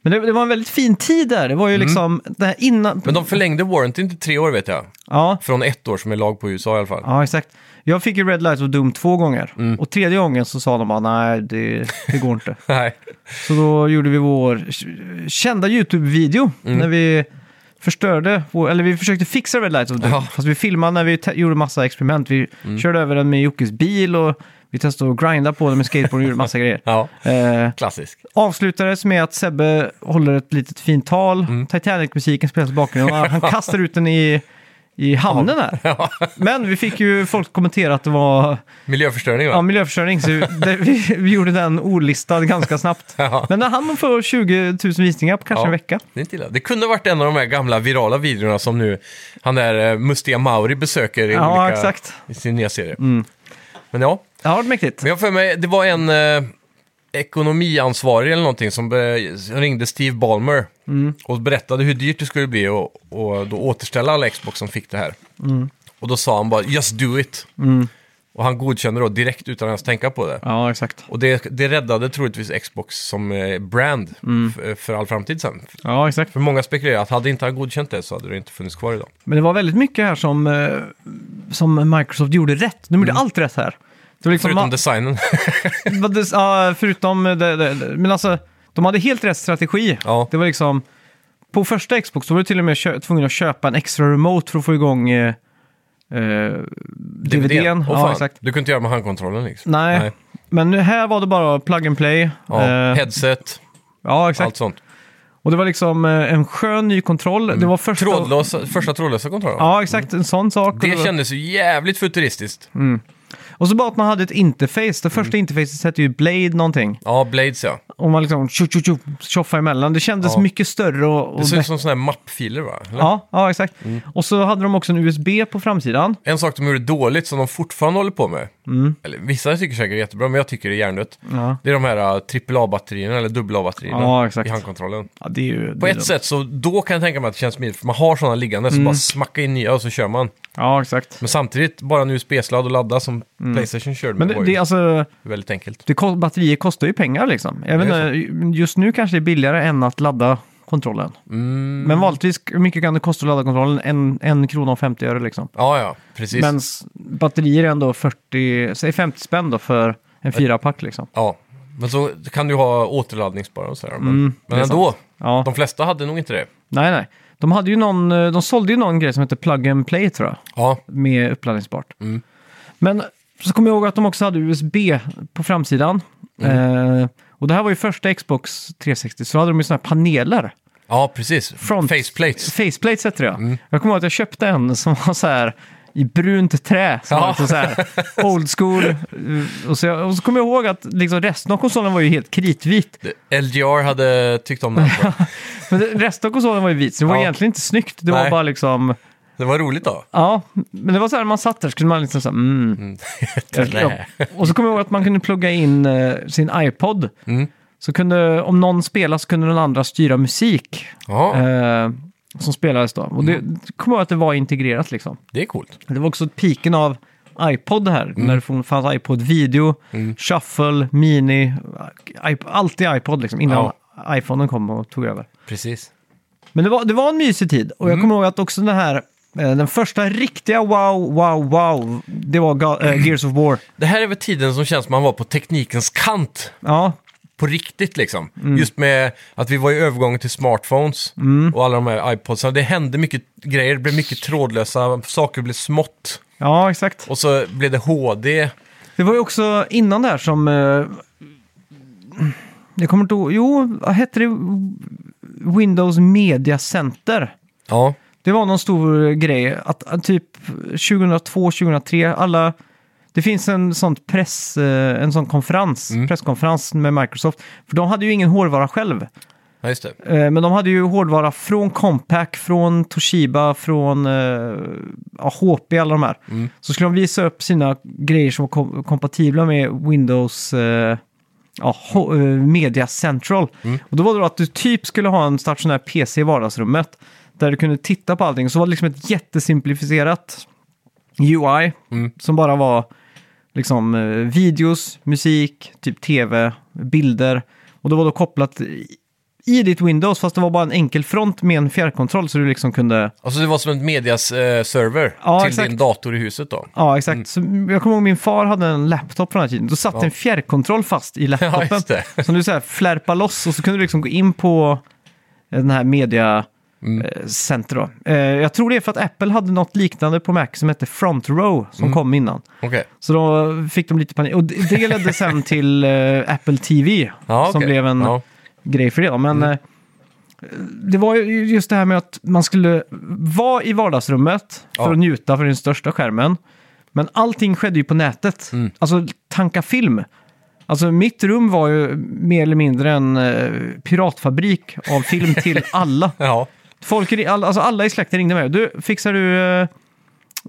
Men det, det var en väldigt fin tid där, det var ju liksom det här innan...
Mm. Men de förlängde warranty till tre år vet jag.
ja.
Från ett år som är lag på USA i alla fall.
Ja, exakt. Jag fick ju Red Light of Doom två gånger.
Mm.
Och tredje gången så sa de bara nej, det, det går inte.
Nej,
så då gjorde vi vår kända YouTube-video
Mm.
när vi förstörde, vår, eller vi försökte fixa Red Light of Doom.
Ja. Mm.
Fast vi filmade när vi te- gjorde massa experiment. Vi körde över den med Jockes bil och vi testade att grinda på den med skateboard och gjorde massa grejer.
ja,
Eh,
klassisk.
avslutades med att Sebbe håller ett litet fint tal.
Mm.
Titanic-musiken spelas i bakgrunden. Han han kastar ut den i, i hamnen här. Men vi fick ju folk kommentera att det var
Miljöförstöring
ja,
va?
miljöförstöring, så det, vi, vi gjorde den olistad ganska snabbt.
Ja.
Men den hann man få 20 000 visningar på kanske
Ja.
en vecka.
Det är inte illa. Det kunde varit en av de här gamla virala videorna som nu han där eh, mustiga Mauri besöker i,
Ja,
olika,
exakt. Mm.
i sin nya serie. Men ja,
Ja, det var mäktigt.
Men jag har för mig, det var en eh, ekonomiansvarig eller någonting som be- ringde Steve Ballmer och berättade hur dyrt det skulle bli och, och då återställa alla Xbox som fick det här. Och då sa han bara “Just do it”. Och han godkände då direkt utan ens tänka på det.
Ja, exakt.
Och det, det räddade troligtvis Xbox som eh, brand f- för all framtid sen.
Ja, exakt.
För många spekulerar att hade inte han godkänt det så hade det inte funnits kvar idag.
Men det var väldigt mycket här som, eh, som Microsoft gjorde rätt. De gjorde allt rätt här. Det var liksom
Mm. Förutom
ma-
designen.
Vad det- Ja, förutom det, det, det. Men alltså, de hade helt rätt strategi.
Ja.
Det var liksom... På första Xbox då var du till och med kö- tvungen att köpa en extra remote för att få igång eh, eh, DVDn.
Åh, fan.
ja, exakt.
Du kunde inte göra med handkontrollen liksom.
Nej. Men nu- här var det bara plug and play.
Ja,
Eh,
headset,
ja exakt.
allt sånt.
Och det var liksom eh, en skön ny kontroll.
Mm.
Det var första...
Trådlösa, första trådlösa kontrollen.
Ja, exakt. En sån sak. Och
Det
var- Mm.
kändes ju jävligt futuristiskt.
Och så bara att man hade ett interface. Det
Mm.
första interfacet hette ju Blade någonting.
Ja, Blades ja.
Och man liksom tjo, tjo, tjo, tjoffade emellan. Det kändes
Ja.
mycket större och, och
Det
bättre.
ser ut Mm. som sådana här mappfiler va? Eller?
Ja, ja exakt. Och så hade de också en USB på framsidan.
En sak de gjorde dåligt som de fortfarande håller på med,
Mm.
eller vissa tycker säkert är jättebra, men jag tycker det är hjärndött.
Ja.
Det är de här uh, AAA-batterierna eller AA-batterierna
Mm. Ja, exakt.
i handkontrollen.
Ja, det är ju, det är
På
Mm.
ett
dumt.
sätt så, då kan jag tänka mig att det känns smidigt, för man har sådana liggande, så bara smacka in nya och så kör man.
Ja, exakt.
Men samtidigt, bara en USB-sladd och ladda som Playstation körde
Mm. Men
med
det,
var
det,
ju
är alltså,
väldigt enkelt.
det, kost- batterier kostar ju pengar liksom. Även,
Ja,
just nu kanske det är billigare än att ladda kontrollen.
Mm.
Men vanligtvis, hur mycket kan det kosta att ladda kontrollen? En, en krona och 50 öre liksom.
Ja, ja, precis.
Men s- batterier är ändå 40, säg 50 spänn då för en fyrapack liksom.
Ja, men så kan du ha återladdningsbara och sådär. Men, men
Mm, det är
ändå,
Ja.
de flesta hade nog inte det.
Nej, nej. De, hade ju någon, eh, de sålde ju någon grej som heter Plug and Play tror jag.
Ja,
med uppladdningsbart.
Mm.
Men så kommer jag ihåg att de också hade USB på framsidan.
Mm.
Eh, och det här var ju första Xbox 360, så då hade de ju sådana här paneler.
ja precis. Faceplates.
Faceplates heter det ja.
Mm.
Jag kommer ihåg att jag köpte en som var så här i brunt trä, som
Ja.
var liksom så här old school. Eh, Och så, jag- och så kommer jag ihåg att liksom resten av konsolen var ju helt kritvit.
LGR hade tyckt om det. här, tror jag.
Men det- resten av konsolen var ju vit, så det var
Ja.
egentligen inte snyggt. Det var
Nej.
bara liksom...
Det var roligt då.
Ja, men det var så här när man satt där så kunde man liksom så här, mm.
Trä.
Ja, Och så kommer jag ihåg att man kunde plugga in eh, sin iPod.
Mm.
Så kunde, om någon spelade så kunde den andra styra musik
Ja, Mm.
eh, som spelades då. Och det kommer jag ihåg att det var integrerat liksom.
det är coolt.
Det var också piken av iPod här,
Mm.
när det fanns iPod video, shuffle, mini, iP- alltid iPod liksom, innan iPhonen kom och tog över.
Precis.
Men det var, det var en mysig tid. Och jag kommer ihåg att också den här, eh, den första riktiga wow, wow, wow, det var Ga- eh, Gears of War.
Det här är väl tiden som känns som man var på teknikens kant.
Ja,
På riktigt liksom.
Mm.
Just med att vi var i övergången till smartphones och alla de här iPodsarna. Det hände mycket grejer, det blev mycket trådlösa, saker blev smått.
ja exakt.
Och så blev det HD.
Det var ju också innan det här som... Eh, jag kommer inte ihåg. Jo, vad hette det? Windows Media Center.
Ja,
Det var någon stor grej. Att, att typ 2002, 2003, alla... Det finns en sån, press, eh, en sån konferens, presskonferens med Microsoft. För de hade ju ingen hårdvara själv.
ja just det.
Eh, Men de hade ju hårdvara från Compaq, från Toshiba, från eh, ja, HP, alla de här. Så skulle de visa upp sina grejer som var kom kompatibla med Windows eh, ja, ho- eh, Media Central. Och då var det då att du typ skulle ha en stationär PC i vardagsrummet där du kunde titta på allting. Så var det liksom ett jättesimplifierat UI som bara var liksom eh, videos, musik, typ tv, bilder. Och det var då kopplat i- i ditt Windows, fast det var bara en enkel front med en fjärrkontroll så du liksom kunde...
Alltså det var som en mediaserver
Ja,
till
exakt.
din dator i huset då.
Ja, exakt.
Mm.
Så jag kommer ihåg min far hade en laptop från den här tiden. Då satt en fjärrkontroll fast i
Ja,
laptopen.
just det.
som du så här flärpade loss och så kunde du liksom gå in på den här media
Mm.
eh, center då. Eh, Jag tror det är för att Apple hade något liknande på Mac som hette Front Row som
Mm.
kom innan.
Okej.
Så då fick de lite panik. Och det det ledde sen till eh, Apple TV
Ja,
som
okej.
blev en
Ja.
grej för det. då.
Mm.
Men eh, det var ju just det här med att man skulle vara i vardagsrummet för
Ja.
att njuta för den största skärmen. Men allting skedde ju på nätet.
Mm.
Alltså tanka film. Alltså mitt rum var ju mer eller mindre en eh, piratfabrik av film till alla.
Ja.
Folk, ri- all, alltså alla i släkten ringde mig. Du, fixar du... eh,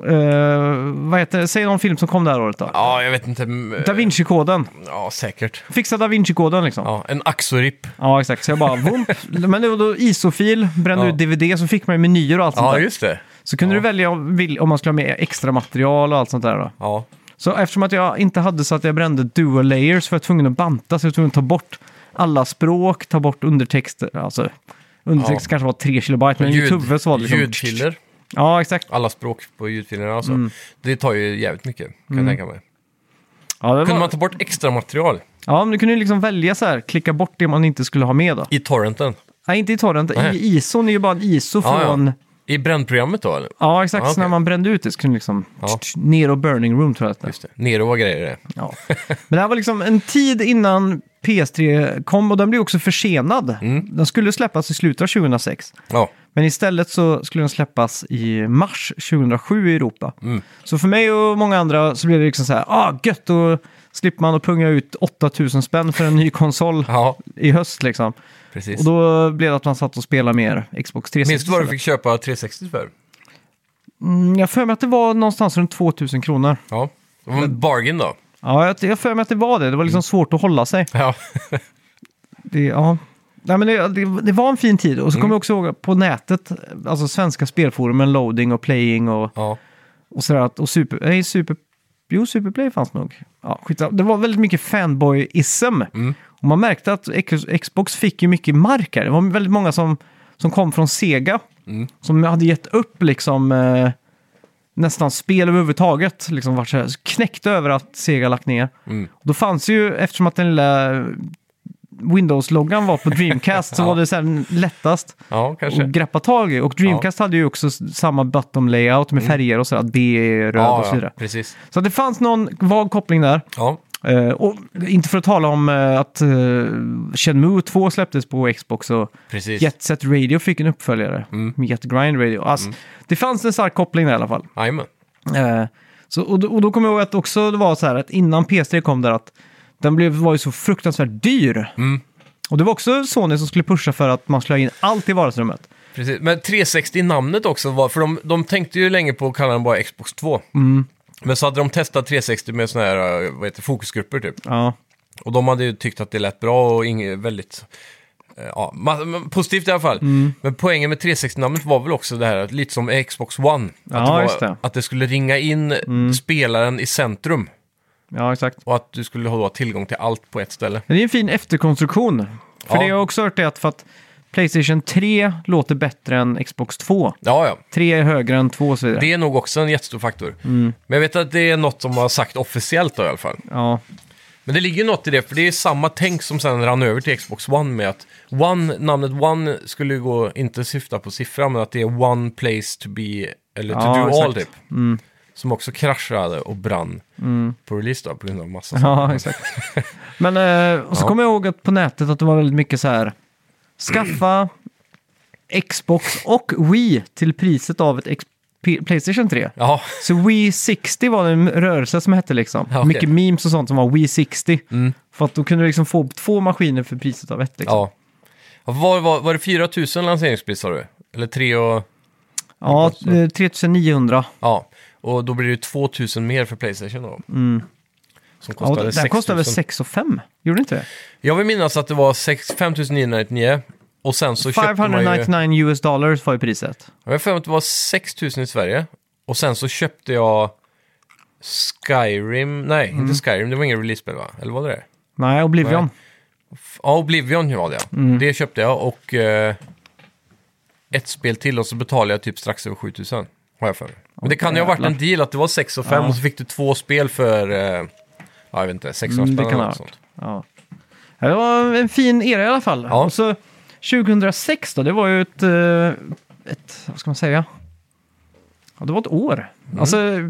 eh, vad heter det? Säg någon film som kom det här året då.
ja, jag vet inte. mm, eh,
Da Vinci-koden.
Ja, säkert.
Fixa Da Vinci-koden liksom. Ja.
Ja, en axorip.
exakt. Så jag bara vump. Men det var då ISO-fil, brände
Ja.
ut DVD, så fick man ju menyer och allt sånt
Ja,
där.
just det.
Så kunde
Ja.
du välja om vill- om man skulle ha med extra material och allt sånt där då.
Ja.
Så eftersom att jag inte hade så att jag brände dual layers för jag var tvungen att banta så jag var tvungen att ta bort alla språk, ta bort undertexter. Alltså, undertext
Ja.
kanske var 3 kilobyte, men i
Ljud-
mitt huvud så var det liksom...
Ljudfiler.
Ja, exakt.
Alla språk på ljudfilerna alltså.
Mm.
Det tar ju jävligt mycket, kan jag tänka mig.
Ja, det
Kunde
var...
man ta bort extra material
ja, men du kunde ju liksom välja så här, klicka bort det man inte skulle ha med då.
i torrenten?
Nej, inte i torrent.
Nej.
I ISOn är ju bara en ISO
Ja, ja.
från...
I brännprogrammet då, eller?
Ja, exakt.
Ja,
Så när
okej.
man brände ut det så kunde det liksom...
Ja.
tsch, Ner och burning room tror jag att det
Just det. Nero var grejer eh. det.
Ja. Men det här var liksom en tid innan PS3 kom och den blev också försenad.
Mm.
Den skulle släppas i slutet av 2006.
Ja.
Men istället så skulle den släppas i mars 2007 i Europa.
Mm.
Så för mig och många andra så blev det liksom så här, ah gött, då slipper man att punga ut 8000 spänn för en ny konsol
Ja,
i höst liksom.
precis.
Och då blev det att man satt och spelade mer Xbox 360.
Minns du vad du fick köpa 360 för?
Mm, jag för mig att det var någonstans runt 2000 kronor.
Ja. Det var en bargain då.
Ja, jag, jag för mig att det var det. Det var liksom svårt att hålla sig.
Ja.
Det, ja. Nej, men det, det, det var en fin tid. Och så kommer jag också ihåg på nätet, alltså svenska spelforumen, loading och playing och,
ja.
och sådär. att- Och super, nej, super, jo, Superplay fanns nog. Ja, skitsamma. det var väldigt mycket fanboyism.
Mm.
Och man märkte att X- Xbox fick ju mycket mark här. Det var väldigt många som, som kom från Sega.
Mm.
Som hade gett upp liksom eh, nästan spel överhuvudtaget. Liksom varit så här knäckt över att Sega lagt ner.
Mm.
Då fanns ju, eftersom att den lilla Windows-loggan var på Dreamcast så
Ja.
var det sen lättast
ja, kanske.
att greppa tag i. Och Dreamcast hade ju också s- samma bottom layout med färger och sådär, att B är röd
Mm. ja,
och så vidare.
Ja, precis.
Så att det fanns någon vag koppling där.
Ja.
Eh, och inte för att tala om eh, att eh, Shenmue 2 släpptes på Xbox och
Precis.
Jet Set Radio fick en uppföljare
Mm.
med Jet Grind Radio. Alltså, Det fanns en stark koppling där i alla fall.
Jajamän.
Eh, så, och, då- och då kommer jag ihåg att också det var så här att innan PS3 kom där att den blev, var ju så fruktansvärt dyr.
Mm.
Och det var också Sony som skulle pusha för att man skulle ha in allt i vardagsrummet.
Precis. Men 360 i namnet också, var, för de, de tänkte ju länge på att kalla den bara Xbox 2.
Mm.
Men så hade de testat 360 med såna här eh, vad heter, det, fokusgrupper typ.
Ja,
Och de hade ju tyckt att det lät bra och inget väldigt... eh, Ja, ma- ma- positivt i alla fall.
Mm.
Men poängen med 360-namnet var väl också det här, att lite som Xbox One. Att,
Ja,
det, var,
just det. Mm.
att det skulle ringa in spelaren i centrum.
ja exakt.
Och att du skulle ha tillgång till allt på ett ställe.
Men det är en fin efterkonstruktion. För
Ja.
det jag också hört är att för att Playstation 3 låter bättre än Xbox 2.
Ja, ja.
3 är högre än 2 och så vidare.
Det är nog också en jättestor faktor. Men jag vet att det är något som har sagt officiellt då, i alla fall.
Ja,
Men det ligger ju något i det, för det är samma tänk som sen rann över till Xbox One med att One, namnet One skulle ju gå, inte syfta på siffra, men att det är One Place To Be, eller To
Ja,
Do All
exakt. Mm.
typ. Som också kraschade och brann på release då, på grund av massa
ja exakt. Men eh, och så
Ja.
kommer jag ihåg att på nätet att det var väldigt mycket så här. Skaffa Xbox och Wii till priset av ett X- P- Playstation 3.
Ja,
Så Wii 60 var en rörelse som hette liksom.
Ja, okej. Mm.
Mycket memes och sånt som var Wii 60. För att då kunde du liksom få två maskiner för priset av ett. Liksom.
ja. ja var, var, var det 4 000 lanseringspris sa du? Eller 3 och...
Ja, eh, 3900.
Ja, och då blir det ju 2 000 mer för Playstation då. Som
Mm. Ja,
kostade
det här
6
kostade
000.
väl 6 och 5? Gjorde det inte det?
Jag vill minnas att det var 6 5 999 och sen så köpte man ju...
599 US dollars var ju priset.
Jag har för mig att det var 6 000 i Sverige. Och sen så köpte jag Skyrim. Nej,
Mm.
inte Skyrim. Det var ingen release-spel va? Eller var det det?
Nej, Oblivion.
Nej. F- Ja, Oblivion var det ja.
Mm.
Det köpte jag och eh, ett spel till och så betalade jag typ strax över 7000. Har jag för mig. Men det kan ju ha varit en
jävlar.
deal att det var 6 och 5
Ja.
och så fick du två spel för, eh, ja, jag vet inte, 600
Mm, det
spänn
kan
eller
ha
något
varit.
sånt.
Ja. Ja, Det var en fin era i alla fall.
Ja.
Och så 2006 då, det var ju ett, eh, ett vad ska man säga? Ja, det var ett år.
Mm.
Alltså, eh,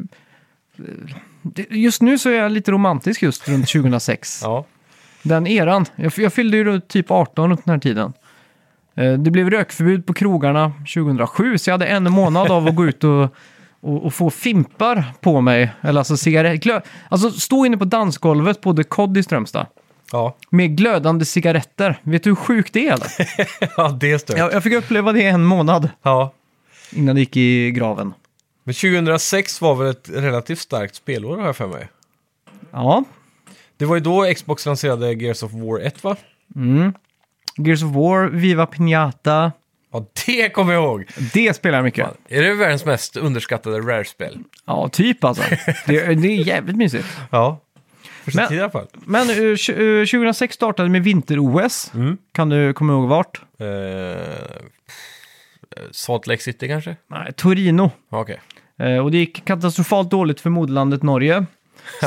det- just nu så är jag lite romantisk just runt 2006.
Ja.
Den eran. Jag, jag fyllde ju runt typ 18 runt den här tiden. Eh, Det blev rökförbud på krogarna 2007, så jag hade en månad av att gå ut och, och, och få fimpar på mig. Eller alltså cigaretter. Alltså stå inne på dansgolvet på The Cod i Strömstad.
Ja.
Med glödande cigaretter. Vet du hur sjukt det är? Eller?
ja, det är stört. Ja.
Jag, jag fick uppleva det en månad
ja.
innan det gick i graven.
Men 2006 var väl ett relativt starkt spelår har jag för mig.
Ja,
Det var ju då Xbox lanserade Gears of War 1 va?
mm. Gears of War, Viva Pinata.
Ja, det kommer jag ihåg!
Det spelar jag mycket.
Är det världens mest underskattade Rare-spel?
Ja, typ alltså. Det, det är jävligt mysigt.
Ja. För sin
Men-
tid i alla fall.
Men eh, tj- eh, 2006 startade med vinter-OS.
Mm.
Kan du komma ihåg vart?
Eh, Salt Lake City kanske?
Nej, Torino.
Ja, Okej.
Eh, och det gick katastrofalt dåligt för moderlandet Norge.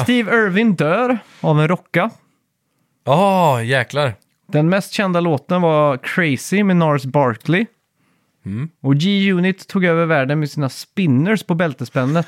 Steve Irwin dör av en rocka.
Ja, jäklar.
Den mest kända låten var Crazy med Nars Barkley.
Mm.
Och G-Unit tog över världen med sina spinners på bältespännet.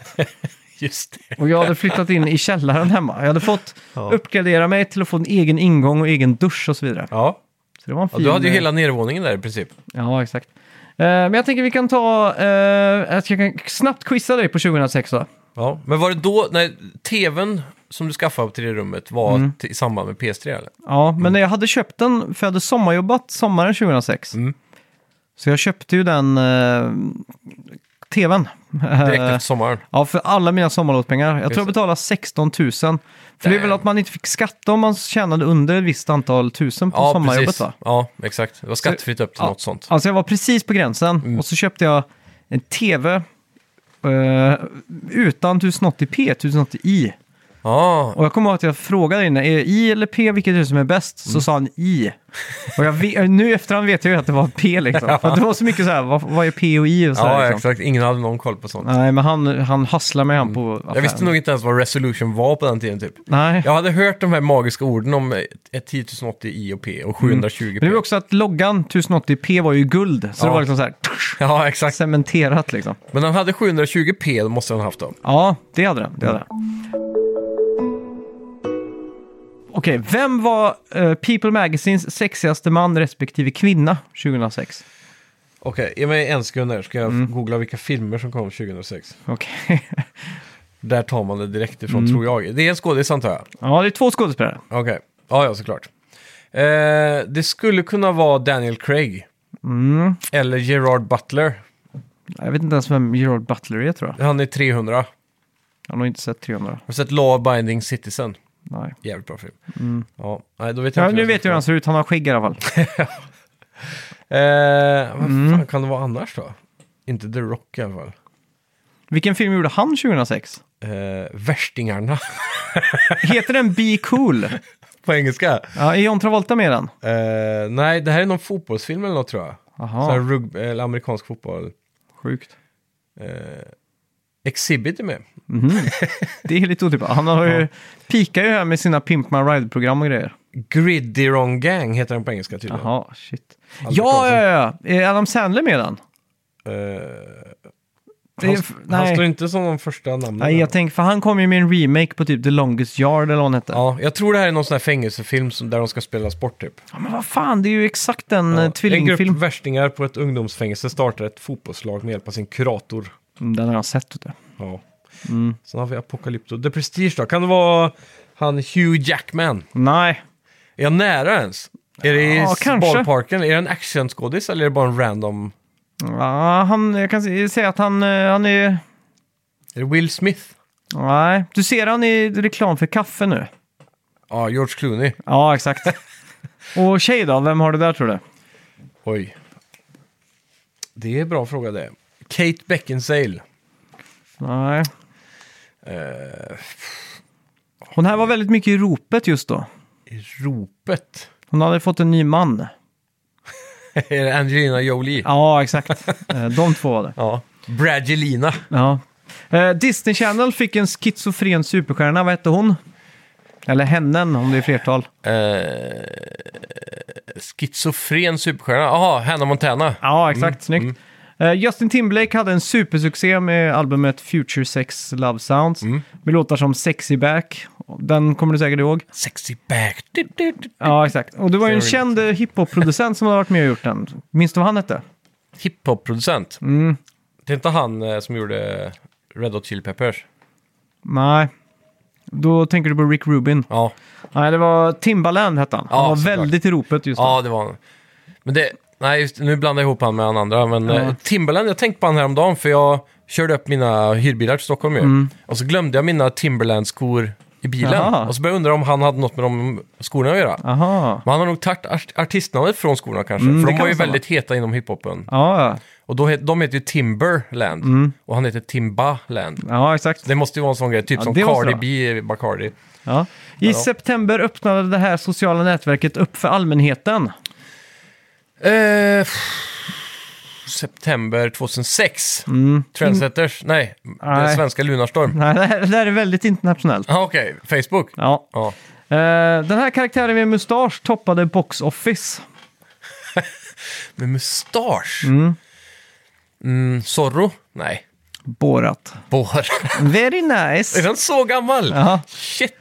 Just det.
Och jag hade flyttat in i källaren hemma. Jag hade fått uppgradera mig till att få en egen ingång och egen dusch och så vidare.
Ja,
Så det var en
ja
fin,
du hade ju
eh,
hela nedervåningen där i princip.
Ja, exakt. Eh, Men jag tänker vi kan ta... eh, att jag kan snabbt quizza dig på 2006 då.
Ja. Men var det då, när tvn som du skaffade till det rummet var
Mm.
t- i samband med PS3 eller?
Ja,
Mm.
men när jag hade köpt den, för jag hade sommarjobbat sommaren 2006.
Mm.
Så jag köpte ju den eh, tvn.
Direkt
Eh,
efter sommaren.
Ja, för alla mina sommarlovspengar. Jag
Just
tror jag
det.
betalade 16 000. För det är väl
Damn.
att man inte fick skatta om man tjänade under ett visst antal tusen på
Ja,
sommarjobbet
precis.
va?
Ja, exakt. Det var skattefritt upp till
Ja.
något sånt.
Alltså jag var precis på gränsen
Mm.
och så köpte jag en tv eh, utan 1080p, 1080i.
Ja,
Och jag kommer ihåg att jag frågade innan, är det i eller p vilket hus som är bäst?
Mm.
Så sa han i. Och jag vet, nu i efterhand vet jag ju att det var p liksom. För att det var så mycket så här, vad, vad är p och i och så här,
ja
liksom.
exakt. Ingen hade någon koll på sånt.
Nej, men han, han husslade mig han på affären.
Mm. Jag visste nog inte ens vad resolution var på den tiden typ.
Nej.
Jag hade hört de här magiska orden om eh, ett 1080 i och p och 720p.
Mm. Men det var också att loggan 1080p var ju guld. Så det
Ja.
var liksom så här
Ja, exakt.
cementerat liksom.
Men den hade 720p, då måste den ha haft då.
Ja, det hade den. Det hade den. Okej, vem var eh, People Magazines sexigaste man respektive kvinna 2006?
Okej, ge mig en sekund här, ska jag
Mm.
googla vilka filmer som kom 2006.
Okej.
Där tar man det direkt ifrån,
Mm.
tror jag. Det är en skådis antar jag.
ja, det är två skådespelare.
Okej, ja, ja, såklart. Eh, det skulle kunna vara Daniel Craig. Eller Gerard Butler.
Mm. Jag vet inte ens vem Gerard Butler är tror jag.
Han är 300.
Jag har nog inte sett 300.
Har du sett Law Binding Citizen?
Nej.
Jävligt bra film.
Mm.
Ja, nej, då vet jag
Ja,
inte
nu
vem som
vet jag hur han ser ut, han har skägg i alla fall.
Eh, vad
Mm.
fan kan det vara annars då? Inte The Rock i alla fall.
Vilken film gjorde han 2006?
Eh, värstingarna
Heter den Be Cool?
på engelska.
Ja, är John Travolta med i den?
Eh, nej, det här är någon fotbollsfilm eller något tror jag.
Aha.
Så här rug- eller amerikansk fotboll.
Sjukt.
Eh, Exhibit är med.
Mhm. Det är lite otippat. Han har ju, pikar ju här med sina Pimp My Ride-program och grejer.
Griddy Wrong Gang heter den på engelska tydligen.
Jaha, shit.
Albert
Ja,
Hansson.
ja, ja. Är Adam Sandler med i den?
Eh,
Det är
han,
f-
han
nej.
står inte som de första namnen.
Nej, jag tänker, för han kom ju med en remake på typ The Longest Yard eller vad han hette. Ja.
ja, jag tror det här är någon sån här fängelsefilm som, där de ska spela sport typ.
Men vad fan, det är ju exakt den
Ja.
eh,
En
tvillingfilm.
grupp värstingar på ett ungdomsfängelse startar ett fotbollslag med hjälp av sin kurator.
Mm, Den har jag sett. Vet du.
Ja.
Mm.
Sen har vi Apocalypto. The Prestige då? Kan det vara han Hugh Jackman?
Nej,
Är jag nära ens? Är det
Ja,
i
kanske.
ballparken? Är det en actionskådis eller är det bara en random?
ja, han, jag kan se- säga att han, eh, han är...
Är det Will Smith?
Nej, du ser han i reklam för kaffe nu.
Ja, George Clooney.
Ja, exakt. Och tjej då, vem har du där tror du?
Oj. Det är en bra fråga det. Kate Beckinsale.
Nej.
Eh,
Hon här var väldigt mycket i ropet just då.
ropet.
Hon hade fått en ny man.
Är det Angelina Jolie?
Ja, exakt. Eh, De två var det.
Ja. Bradgelina.
Ja. Eh, Disney Channel fick en schizofren superstjärna, vad hette hon? Eller hennen, om det är flertal.
Eh, schizofren superstjärna. Jaha, Hannah Montana.
Ja, exakt.
Mm.
Snyggt. Eh, Justin Timberlake hade en supersuccé med albumet Future Sex Love Sounds.
Mm.
Med låtar som Sexy Back. Den kommer du säkert ihåg.
Sexy back. Du, du, du.
Ja, exakt. Och det var ju en
Sorry.
känd eh, hiphop-producent som hade varit med och gjort den. Minns du vad han hette?
Hiphop-producent. Det är inte han eh, som gjorde Red Hot Chili Peppers?
Nej. Då tänker du på Rick Rubin.
Ja,
Nej, det var Timbaland hette han. Han
Ja,
var
såklart.
väldigt i ropet just då.
ja det var han. Men det, nej, just, nu blandar jag ihop han med han andra. Men eh, Timberland, jag tänkte på han häromdagen för jag körde upp mina hyrbilar till Stockholm ju. Och så glömde jag mina Timberland-skor i bilen.
Jaha.
Och så började jag undra om han hade något med de skorna att göra.
Aha.
Men han har nog tagit art- artistnamnet från skorna kanske.
det
för de
kan
var ju
stämma.
väldigt heta inom hiphopen.
Ja,
Och då, het- de heter ju Timberland.
Mm.
Och han heter Timbaland.
ja exakt.
Det måste ju vara en sån grej, typ
Ja,
som
det måste
Cardi
det
B, i Bacardi.
Ja. I september öppnade det här sociala nätverket upp för allmänheten.
Eh, september 2006. Trendsetters? Nej, det är
Mm. Nej.
svenska Lunarstorm.
Nej, det här, det här är väldigt internationellt.
Ah, Okej, Facebook.
Ja.
Ja.
Eh, den här karaktären med mustasch toppade Box Office.
Med mustasch? Mm. Zorro? Nej.
Borat.
Bor.
Very
är
nice.
den så gammal?
Ja.
Shit!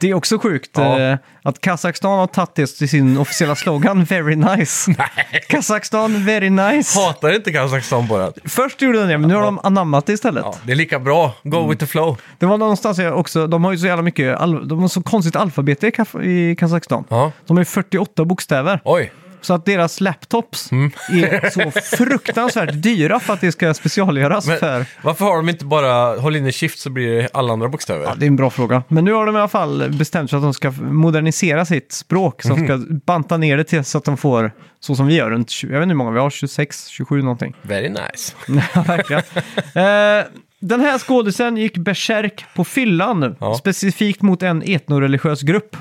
Det är också sjukt
Ja.
eh, att Kazakstan har tagit det till sin officiella slogan Very nice.
Nej.
Kazakstan, very nice.
Hatar inte Kazakstan Borat.
Först gjorde de det, men nu har de anammat det istället.
Ja, det är lika bra. Go
Mm.
with the flow.
Det var någonstans jag också, de har ju så jävla mycket, al- de har så konstigt alfabet i, Kaf- i Kazakstan.
Ja.
De har ju 48 bokstäver.
Oj.
Så att deras laptops
Mm.
är så fruktansvärt dyra för att det ska specialgöras
Men
för...
varför har de inte bara håll inne shift så blir det alla andra bokstäver?
Ja, det är en bra fråga. Men nu har de i alla fall bestämt sig att de ska modernisera sitt språk. Så de ska
Mhm.
banta ner det till så att de får, så som vi gör, runt 20, jag vet inte hur många vi har, 26, 27 någonting.
Very nice.
Ja, verkligen. Eh, den här skådisen gick bärsärk på fyllan,
Ja. Äh.
specifikt mot en etnoreligiös grupp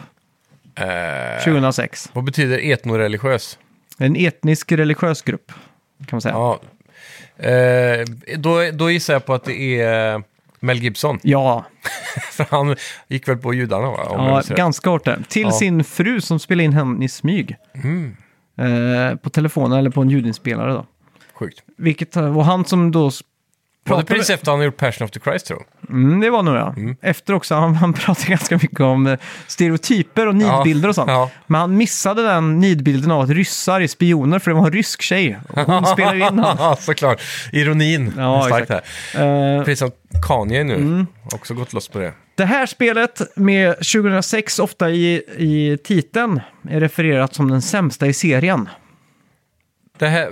Eh,
2006.
vad betyder etnoreligiös?
En etnisk religiös grupp, kan man säga. Ja,
Ja. Eh, då, då gissar jag på att det är Mel Gibson.
ja,
För han gick väl på judarna va? Om jag minns rätt.
ganska hårt där. Till
Ja. Mm.
sin fru som spelade in henne i smyg. Eh, på telefonen eller på en ljudinspelare då.
Sjukt.
Vilket, och han som då... s-
Var det
pratade-
precis efter han gjort Passion of the Christ tror jag.
Mm, det var nog jag. Efter också, han, han pratade ganska mycket om eh, stereotyper och nidbilder och sånt.
Ja.
Men han missade den nidbilden av att ryssar är spioner, för det var en rysk tjej. Och Hon spelar ju in han.
Ja, såklart. Ironin.
Ja,
är starkt här.
exakt. Mm. Eh,
Precis som Kanye nu. Också gått loss på det.
det här spelet med 2006 ofta i, i titeln är refererat som den sämsta i serien.
Det här,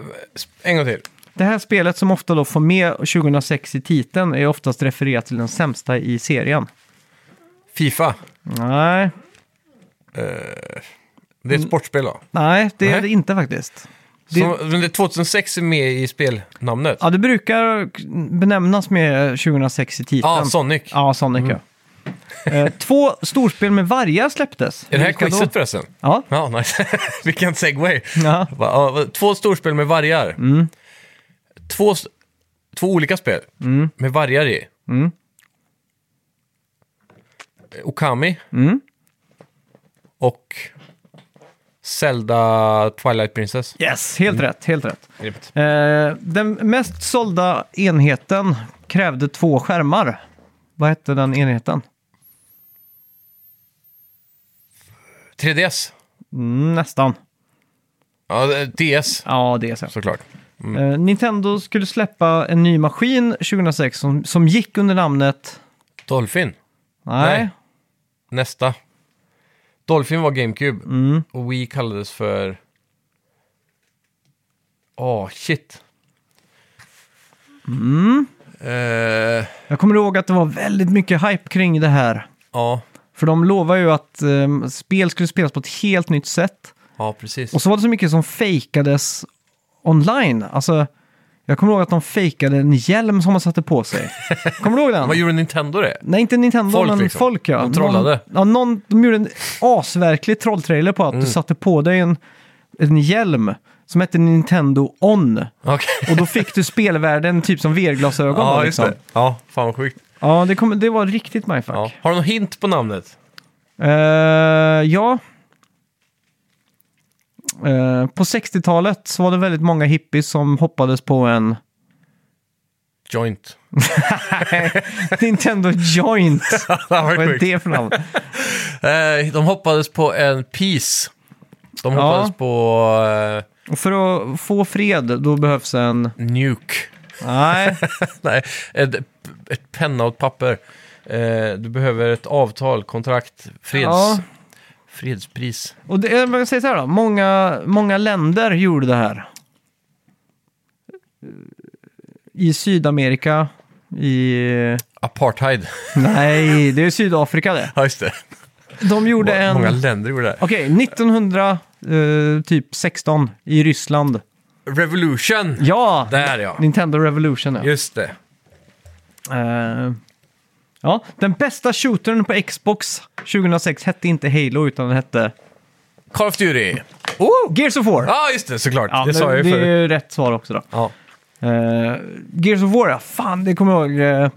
en gång till.
Det här spelet som ofta då får med 2006 i titeln är oftast refererat till den sämsta i serien.
Fifa.
Nej,
Det
Mm.
är ett sportspel då.
nej det är
Nej.
det inte faktiskt. Det-
Som, men det 2006 är med i spelnamnet? Ja,
Ja, det brukar benämnas med 2006 i titeln.
Sonic. Mm.
Ja, Sonic ja. Eh, Två storspel med vargar släpptes.
Är det här
Vilka då?
quizet förresten?
Ja.
Ja, nice. Vilken segway.
ja.
Va- ja, va- Två storspel med vargar.
Mm.
Två, s- två olika spel
Mm.
med vargar i. Eh, Okami.
Mm.
Och Zelda Twilight Princess.
Yes, helt
Mm.
rätt, helt rätt.
Grymt.
Eh, Den mest sålda enheten krävde två skärmar. Vad hette den enheten?
3DS.
Mm, nästan.
Ja, DS
Ja, det är så.
såklart.
Eh, Nintendo skulle släppa en ny maskin 2006 som, som gick under namnet...
Dolphin.
Nej.
Nej. Nästa. Dolphin var GameCube.
Mm.
Och Wii kallades för... Åh, shit. Eh,
Mm.
Eh,
Jag kommer ihåg att det var väldigt mycket hype kring det här.
ja.
För de lovade ju att eh, spel skulle spelas på ett helt nytt sätt.
Ja, precis.
Och så var det så mycket som fejkades online. Alltså, jag kommer ihåg att de fejkade en hjälm som man satte på sig. Kommer du ihåg den?
Vad gjorde Nintendo det?
Nej, inte Nintendo,
Folk,
men
liksom.
folk ja.
De trollade.
Någon, ja, någon, de gjorde en asverklig trolltrailer på att
Mm.
du satte på dig en, en hjälm som hette Nintendo On.
Okej.
Och då fick du spelvärlden typ som VR-glasögon. då,
Ja, just
liksom.
det. Ja, fan vad sjukt.
Ja, det, kom, det var riktigt mindfuck.
Ja. Har du någon hint på namnet?
Eh, ja. Eh, på 60-talet så var det väldigt många hippies som hoppades på en
Joint.
Nintendo Joint.
Fan,
Vad
vad
är
sjukt.
det för namn?
Eh, de hoppades på en peace. De
Ja.
hoppades på eh,
Och för att få fred, då behövs en...
nuke.
Nej,
Nej, ett, ett penna och ett papper. Eh, du behöver ett avtal, kontrakt, freds,
Ja.
fredspris.
och det, eh, jag vill säga så här då. Många, många länder gjorde det här. I Sydamerika, i...
Apartheid.
Nej, det är Sydafrika det.
ja, just det.
De gjorde
Må-
en...
Många länder gjorde det.
Okej, 1916 typ 16 i Ryssland.
Revolution!
Ja!
Där ja.
Nintendo Revolution, ja.
Just det.
Eh, ja. Den bästa shootern på Xbox 2006 hette inte Halo, utan den hette...
Call of Duty.
Oh! Gears of War!
Ja, just det, såklart.
Ja,
det sa jag ju
det är
förut.
ju rätt svar också då.
Ja.
Eh, Gears of War, ja. Fan, det kommer jag ihåg. eh,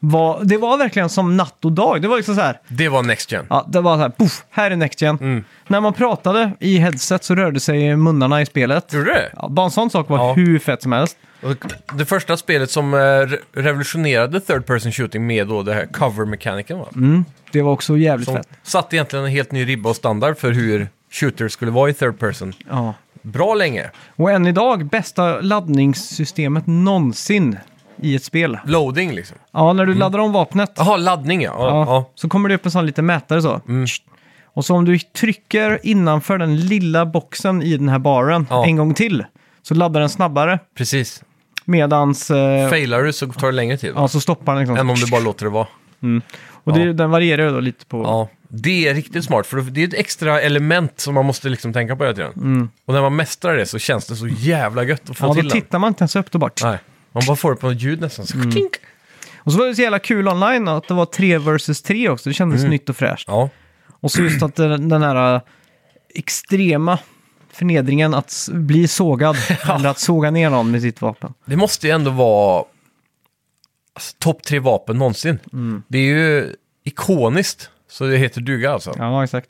var, det var verkligen som natt och dag. Det var liksom så här.
Det var Next Gen.
Ja, det var så här, poff, här är Next Gen.
Mm.
När man pratade i headset så rörde sig munnarna i spelet.
Gjorde det?
Ja, bara en sån sak var
Mm. Ja.
hur fett som helst.
Och det första spelet som eh, re- revolutionerade third person shooting med då det här cover-mekaniken va?
Mm. Det var också jävligt
Som
fett.
satte egentligen en helt ny ribba och standard för hur shooters skulle vara i third person.
Ja.
Bra länge.
Och än idag, bästa laddningssystemet någonsin i ett spel.
Loading liksom.
Ja, när du laddar om vapnet
Jaha, laddning ja. ja.
ja,
ja. Mm.
så kommer det upp en sån liten mätare så. Och så om du trycker innanför den lilla boxen i den här baren
Ja.
en gång till så laddar den snabbare
Precis.
medans... Eh,
Failar du så tar det längre tid.
ja, så stoppar den liksom.
Än om du bara låter det vara.
Och det, den varierar ju då lite på...
Ja. Det är riktigt smart, för det är ett extra element som man måste liksom tänka på hela tiden. Och när man mästrar det så känns det så jävla gött att få
Mm. Ja, då
till den.
tittar man inte ens upp, då bara...
Nej. Man bara får det på något ljud nästan. Så
Mm.
klink.
Och så var det så jävla kul online att det var tre versus tre också. Det kändes
Mm.
nytt och fräscht.
Ja.
Och så just att den, den här äh, extrema förnedringen att s- bli sågad eller att såga ner någon med sitt vapen.
Det måste ju ändå vara alltså, topp tre vapen någonsin.
Mm.
Det är ju ikoniskt, så det heter duga alltså.
Ja, exakt.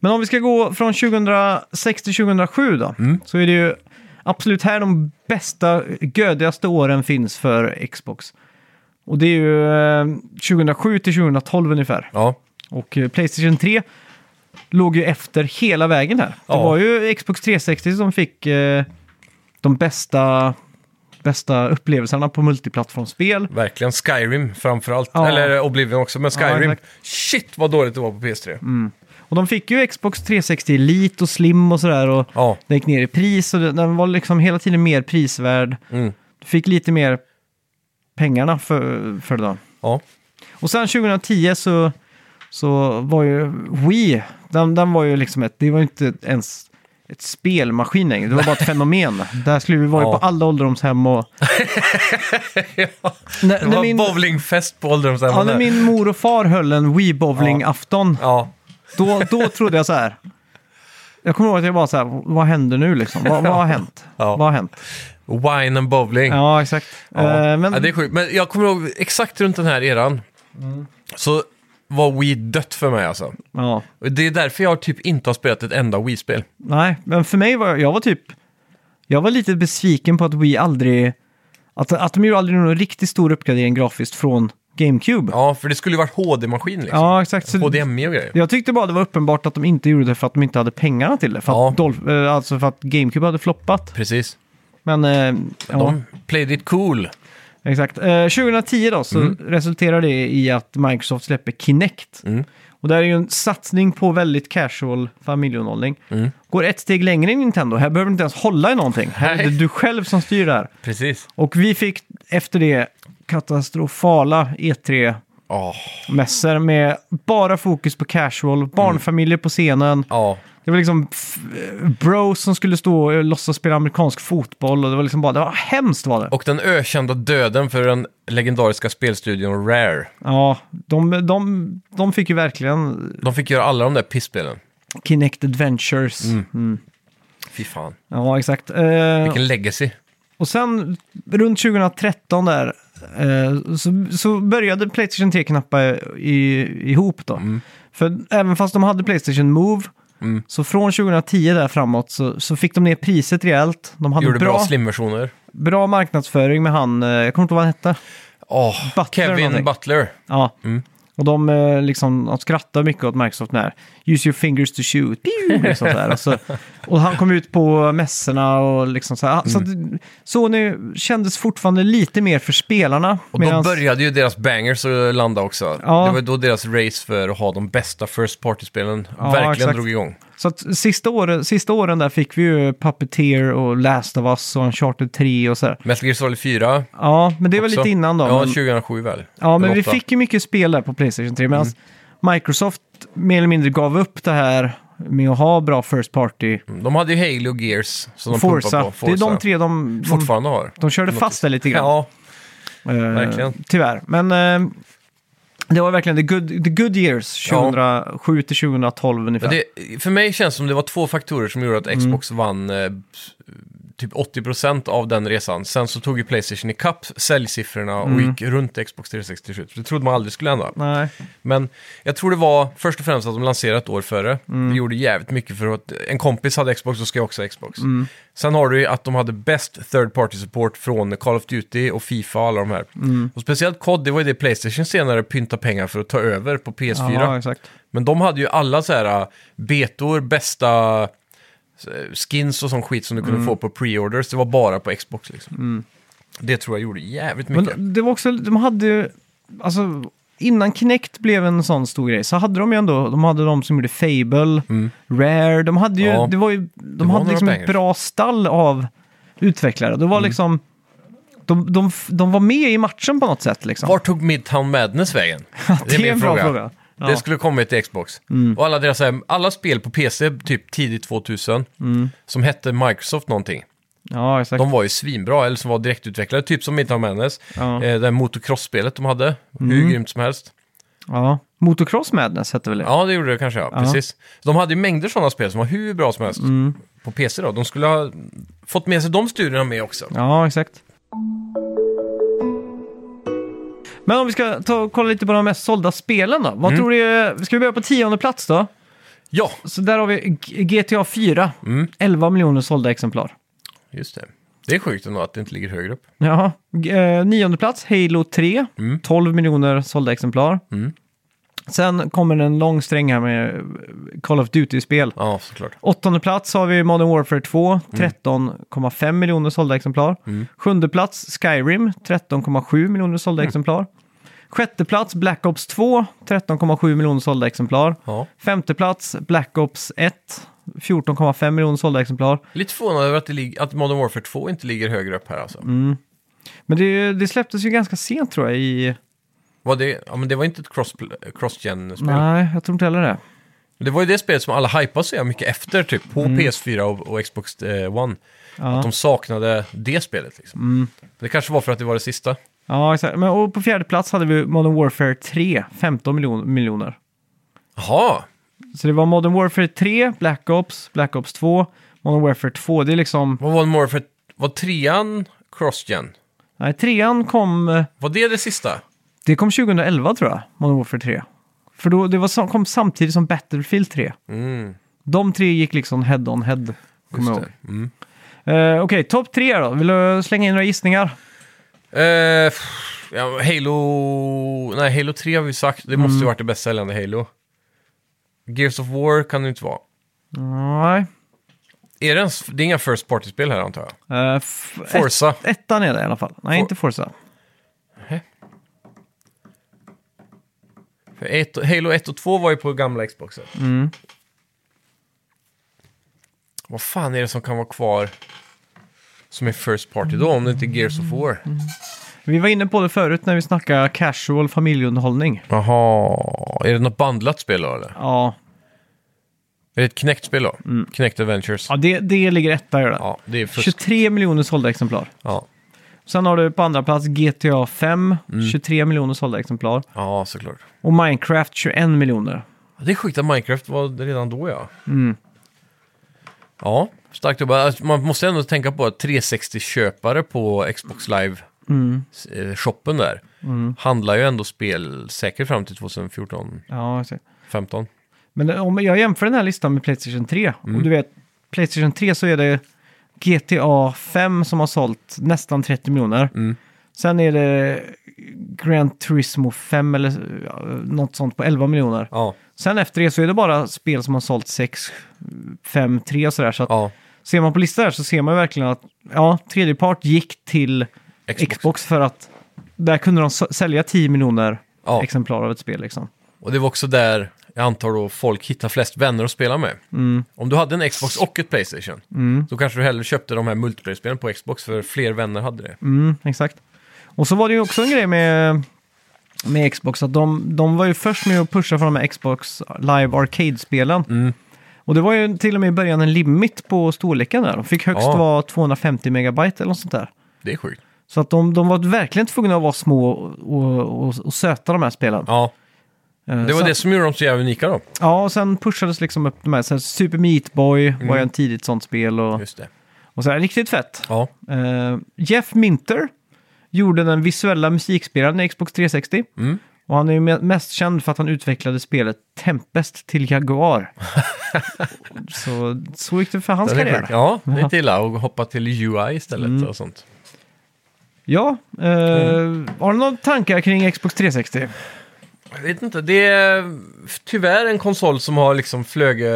Men om vi ska gå från 2006 till 2007 då, så är det ju absolut här de bästa, gödigaste åren finns för Xbox. Och det är ju eh, 2007 till 2012 ungefär.
Ja.
Och eh, Playstation 3 låg ju efter hela vägen här.
Ja.
Det var ju Xbox 360 som fick eh, de bästa, bästa upplevelserna på multiplattformsspel.
Verkligen. Skyrim framförallt.
Ja. Mm.
Eller Oblivion också, men Skyrim.
exakt.
Shit vad dåligt det var på PS3.
Och de fick ju Xbox 360 Elite och Slim och sådär. Och
Ja.
Den gick ner i pris och den- den var liksom hela tiden mer prisvärd.
Mm.
Du fick lite mer pengarna för, för det.
Ja.
Och sen 2010 så, så var ju Wii, den, den var ju liksom ett, det var ju inte ens ett spelmaskin längre, det var bara ett fenomen. Där skulle vi vara ju
Ja.
på alla ålderdomshem och... när,
Det
när
var
min,
bowlingfest på
ja,
ålderdomshemmet.
när
där.
min mor och far höll en Wii-bowling-afton,
ja.
då, då trodde jag så här. Jag kommer ihåg att jag var så här, vad händer nu liksom? Vad, vad har hänt?
Ja.
Vad har hänt?
Wine and bowling.
Ja, exakt.
Ja.
Eh, men,
Ja, det är sjukt. Men jag kommer ihåg exakt runt den här eran.
Mm.
Så var Wii dött för mig alltså.
ja.
Och Det är därför jag typ inte har spelat ett enda Wii-spel.
Nej, men för mig var jag var typ... Jag var lite besviken på att Wii aldrig... Att, att de gjorde aldrig någon riktigt stor uppgradering grafiskt från GameCube. Ja,
Ja, för det skulle ju varit HD-maskin liksom.
exakt. Så
HDMI E och grejer.
Jag tyckte bara det var uppenbart att de inte gjorde det för att de inte hade pengarna till det. För
Ja.
att, Dolph, eh, alltså för att GameCube hade floppat.
Precis.
Men, eh, ja,
De played it cool.
exakt. Eh, 2010 då, så resulterar det i att Microsoft släpper Kinect. Och det här är ju en satsning på väldigt casual familjeunderhållning. Går ett steg längre än Nintendo. Här behöver du inte ens hålla i någonting. Här är det
Nej.
du själv som styr det här.
Precis.
Och vi fick efter det katastrofala E3-upplevelser
Ja.
mässor med bara fokus på casual, barnfamiljer på scenen.
Ja.
Det var liksom f- bros som skulle stå och låtsas spela amerikansk fotboll och det var liksom bara, det var hemskt var det.
Och den ökända döden för den legendariska spelstudion Rare.
Ja, de, de, de fick ju verkligen
De fick göra alla de där pissspelen.
Kinect Adventures.
Fy fan.
Ja, exakt. Eh,
Mm. Vilken legacy.
och sen runt 2013 där eh, så, så började Playstation 3 knappa i, ihop då.
Mm.
För även fast de hade Playstation Move Så från 2010 där framåt så, så fick de ner priset rejält. De hade
Gjorde
bra,
bra,
bra,
slimversioner.
marknadsföring med han, eh, jag kommer inte ihåg vad han hette.
Oh,
Butler någonting.
Kevin Butler.
Ja.
Mm.
Och de, eh, liksom, de skrattade mycket åt Microsoft när Use your fingers to shoot. Pew! Liksom så här. Och, så, och han kom ut på mässorna och liksom så här. Så
Mm.
att Sony kändes fortfarande lite mer för spelarna.
Och
medans-
då började ju deras bangers att landa också.
Ja.
Det var då deras race för att ha de bästa first party-spelen
Ja,
verkligen
exakt.
drog igång.
Så att sista, åren, sista åren där fick vi ju Puppeteer och Last of Us och Uncharted 3 och så här.
Metal Gear Solid 4.
Ja, men det var
också.
lite innan då.
Ja,
men-
2007 väl?
Ja, men
Eller
vi
åtta.
fick ju mycket spel där på Playstation 3. Medan
Mm.
Microsoft mer eller mindre gav upp det här med att ha bra First Party.
De hade ju Halo och Gears som de
Forza.
pumpade på.
Det är de tre de, de,
fortfarande har.
de körde
Något-
fast det lite grann.
Ja,
Eh,
verkligen.
Tyvärr. Men eh, det var verkligen the good, the good years, 2007 till 2012 ungefär.
men det, för mig känns det som det var två faktorer som gjorde att
Mm.
Xbox vann eh, typ 80% av den resan. Sen så tog ju Playstation ikapp säljsiffrorna och
Mm.
gick runt Xbox 360 till slut. Det trodde man aldrig skulle hända.
Nej.
Men jag tror det var först och främst att de lanserade ett år före.
Mm.
Det gjorde jävligt mycket för att en kompis hade Xbox och ska jag också ha Xbox.
Mm.
Sen har du ju att de hade bäst third party support från Call of Duty och Fifa och alla de här.
Mm.
Och speciellt COD, det var ju det Playstation senare pyntade pengar för att ta över på PS4.
Ja, exakt.
Men de hade ju alla så här äh, betor, bästa äh, skins och sån skit som du kunde
Mm.
få på pre-orders. Det var bara på Xbox liksom. Det tror jag gjorde jävligt mycket.
Men det var också, de hade ju, alltså innan Kinect blev en sån stor grej så hade de ju ändå, de hade de som gjorde Fable, Rare, de hade ju,
Mm. Ja.
det var ju, de hade
var några Mm.
liksom ett
bangers.
bra stall av utvecklare. Det var liksom, de, de, de var med i matchen på något sätt liksom.
Var tog Midtown Madness vägen?
det är en bra fråga. Ja.
Det skulle kommit till Xbox. Och alla, deras, eh, alla spel på PC, typ tidigt 2000, som hette Microsoft någonting.
Ja, exakt.
De var ju svinbra, eller som var direktutvecklade, typ som Midtown Madness.
Ja.
Eh, det här motocross-spelet de hade, hur grymt som helst.
Ja. Motocross Madness hette väl det?
Ja, det gjorde det kanske, ja. Precis. De hade ju mängder sådana spel som var hur bra som helst på PC då. De skulle ha fått med sig de studierna med också.
Ja, exakt. Men om vi ska ta och kolla lite på de mest sålda spelen då.
Mm.
Vad tror du, ska vi börja på tionde plats då?
Ja,
Så där har vi G- GTA 4.
Mm.
11 miljoner sålda exemplar.
just det. Det är sjukt ändå att det inte ligger högre upp.
Jaha. G- eh, nionde plats, Halo 3.
Mm.
12 miljoner sålda exemplar. Sen kommer en lång sträng här med eh, Call of Duty-spel.
Ja, såklart.
Åttonde plats har vi Modern Warfare 2, 13,5 miljoner sålda exemplar. Sjunde plats Skyrim, 13,7 miljoner sålda exemplar. Sjätte plats Black Ops 2, 13,7 miljoner sålda exemplar.
Ja.
Femte plats Black Ops 1, 14,5 miljoner sålda exemplar.
Lite förvånad över att, det lig- att Modern Warfare 2 inte ligger högre upp här alltså.
Men det, det släpptes ju ganska sent tror jag i...
Var det, ja, men det var inte ett cross- cross-gen-spel.
Nej, jag tror inte heller det.
det var ju det spelet som alla hypade så jävla mycket efter, typ på PS4 och, och Xbox eh, One. Att de saknade det spelet liksom. Det kanske var för att det var det sista.
Ja, exakt. Men, och på fjärde plats hade vi Modern Warfare 3, 15 miljon- miljoner.
Jaha,
Så det var Modern Warfare 3, Black Ops, Black Ops 2, Modern Warfare 2. Det är liksom...
vad var Modern Warfare... Var trean cross-gen?
Nej, trean kom... eh,
Var det det sista?
Det kom 2011 tror jag, Modern Warfare 3. För då, det var, som- kom samtidigt som Battlefield 3.
Mm,
De tre gick liksom head on head, kommer jag
just
ihåg.
det. Mm.
Eh, Okej, topp tre då. Vill du slänga in några gissningar?
Eh, pff, ja, Halo... Nej, Halo 3 har vi sagt. Det måste ju varit det bäst säljande Halo. Gears of War kan det inte vara.
Nej.
Är det, ens, det är inga first party-spel här antar jag?
Eh, f-
Forza.
Ett, ettan är det i alla fall. Nej,
For-
inte Forza.
För ett, Halo 1 och 2 var ju på gamla Xboxen. Vad fan är det som kan vara kvar som är first party då, om det inte är Gears of War?
Vi var inne på det förut när vi snackade casual familjeunderhållning.
Jaha, är det något bandlat spel då eller?
Ja,
Är det ett knäckt spel då? Mm. Knäckt Adventures?
ja det, det ligger etta gör det.
Ja, det är fusk.
23 miljoner sålda exemplar.
Ja.
Sen har du på andra plats GTA 5, 23 miljoner sålda exemplar.
ja, såklart.
Och Minecraft 21 miljoner.
Det är sjukt att Minecraft var det redan då ja. Ja, starkt jobbat. Alltså, Man måste ändå tänka på att 360-köpare på Xbox Live-shoppen där handlar ju ändå spel säkert fram till 2014,
Ja, jag ser.
15
Men det- om jag jämför den här listan med Playstation 3. Och du vet, Playstation 3 så är det GTA 5 som har sålt nästan 30 miljoner. Sen är det Grand Turismo 5 eller ja, något sånt på 11 miljoner.
Ja,
Sen efter det så är det bara spel som har sålt 6, 5, 3 och sådär. Så att
ja.
ser man på listan här så ser man ju verkligen att ja, tredjepart gick till
Xbox.
Xbox. för att där kunde de s- sälja 10 miljoner
Ja.
exemplar av ett spel liksom.
Och det var också där, jag antar då, folk hittar flest vänner att spela med. Om du hade en Xbox och ett Playstation, så kanske du hellre köpte de här multiplayer-spelen på Xbox, för fler vänner hade det.
Mm, exakt. Och så var det ju också en grej med, med Xbox, att de, de var ju först med att pusha för de här Xbox Live Arcade-spelen.
Mm.
Och det var ju till och med i början en limit på storleken där. De fick högst
Ja.
vara 250 megabyte eller något sånt där.
Det är sjukt.
Så att de, de var verkligen tvungna att vara små och, och, och söta de här spelen.
Ja,
Eh,
det var
sen,
det som gjorde dem så jävla unika då.
Ja, och sen pushades liksom upp de här. Så här Super Meat Boy
Mm.
var ju en tidigt sånt spel och,
Just det.
och så här, riktigt fett.
Ja,
Eh, Jeff Minter gjorde den visuella musikspelaren i Xbox 360.
Mm.
Och han är ju me- mest känd för att han utvecklade spelet Tempest till Jaguar. så, så gick det Mm. för hans
Den är
karriär.
sjuk. Ja, det är inte illa. Och hoppa till UI istället och sånt.
Ja, eh,
Mm.
har du några tankar kring Xbox 360?
Jag vet inte, det är tyvärr en konsol som har liksom flög eh,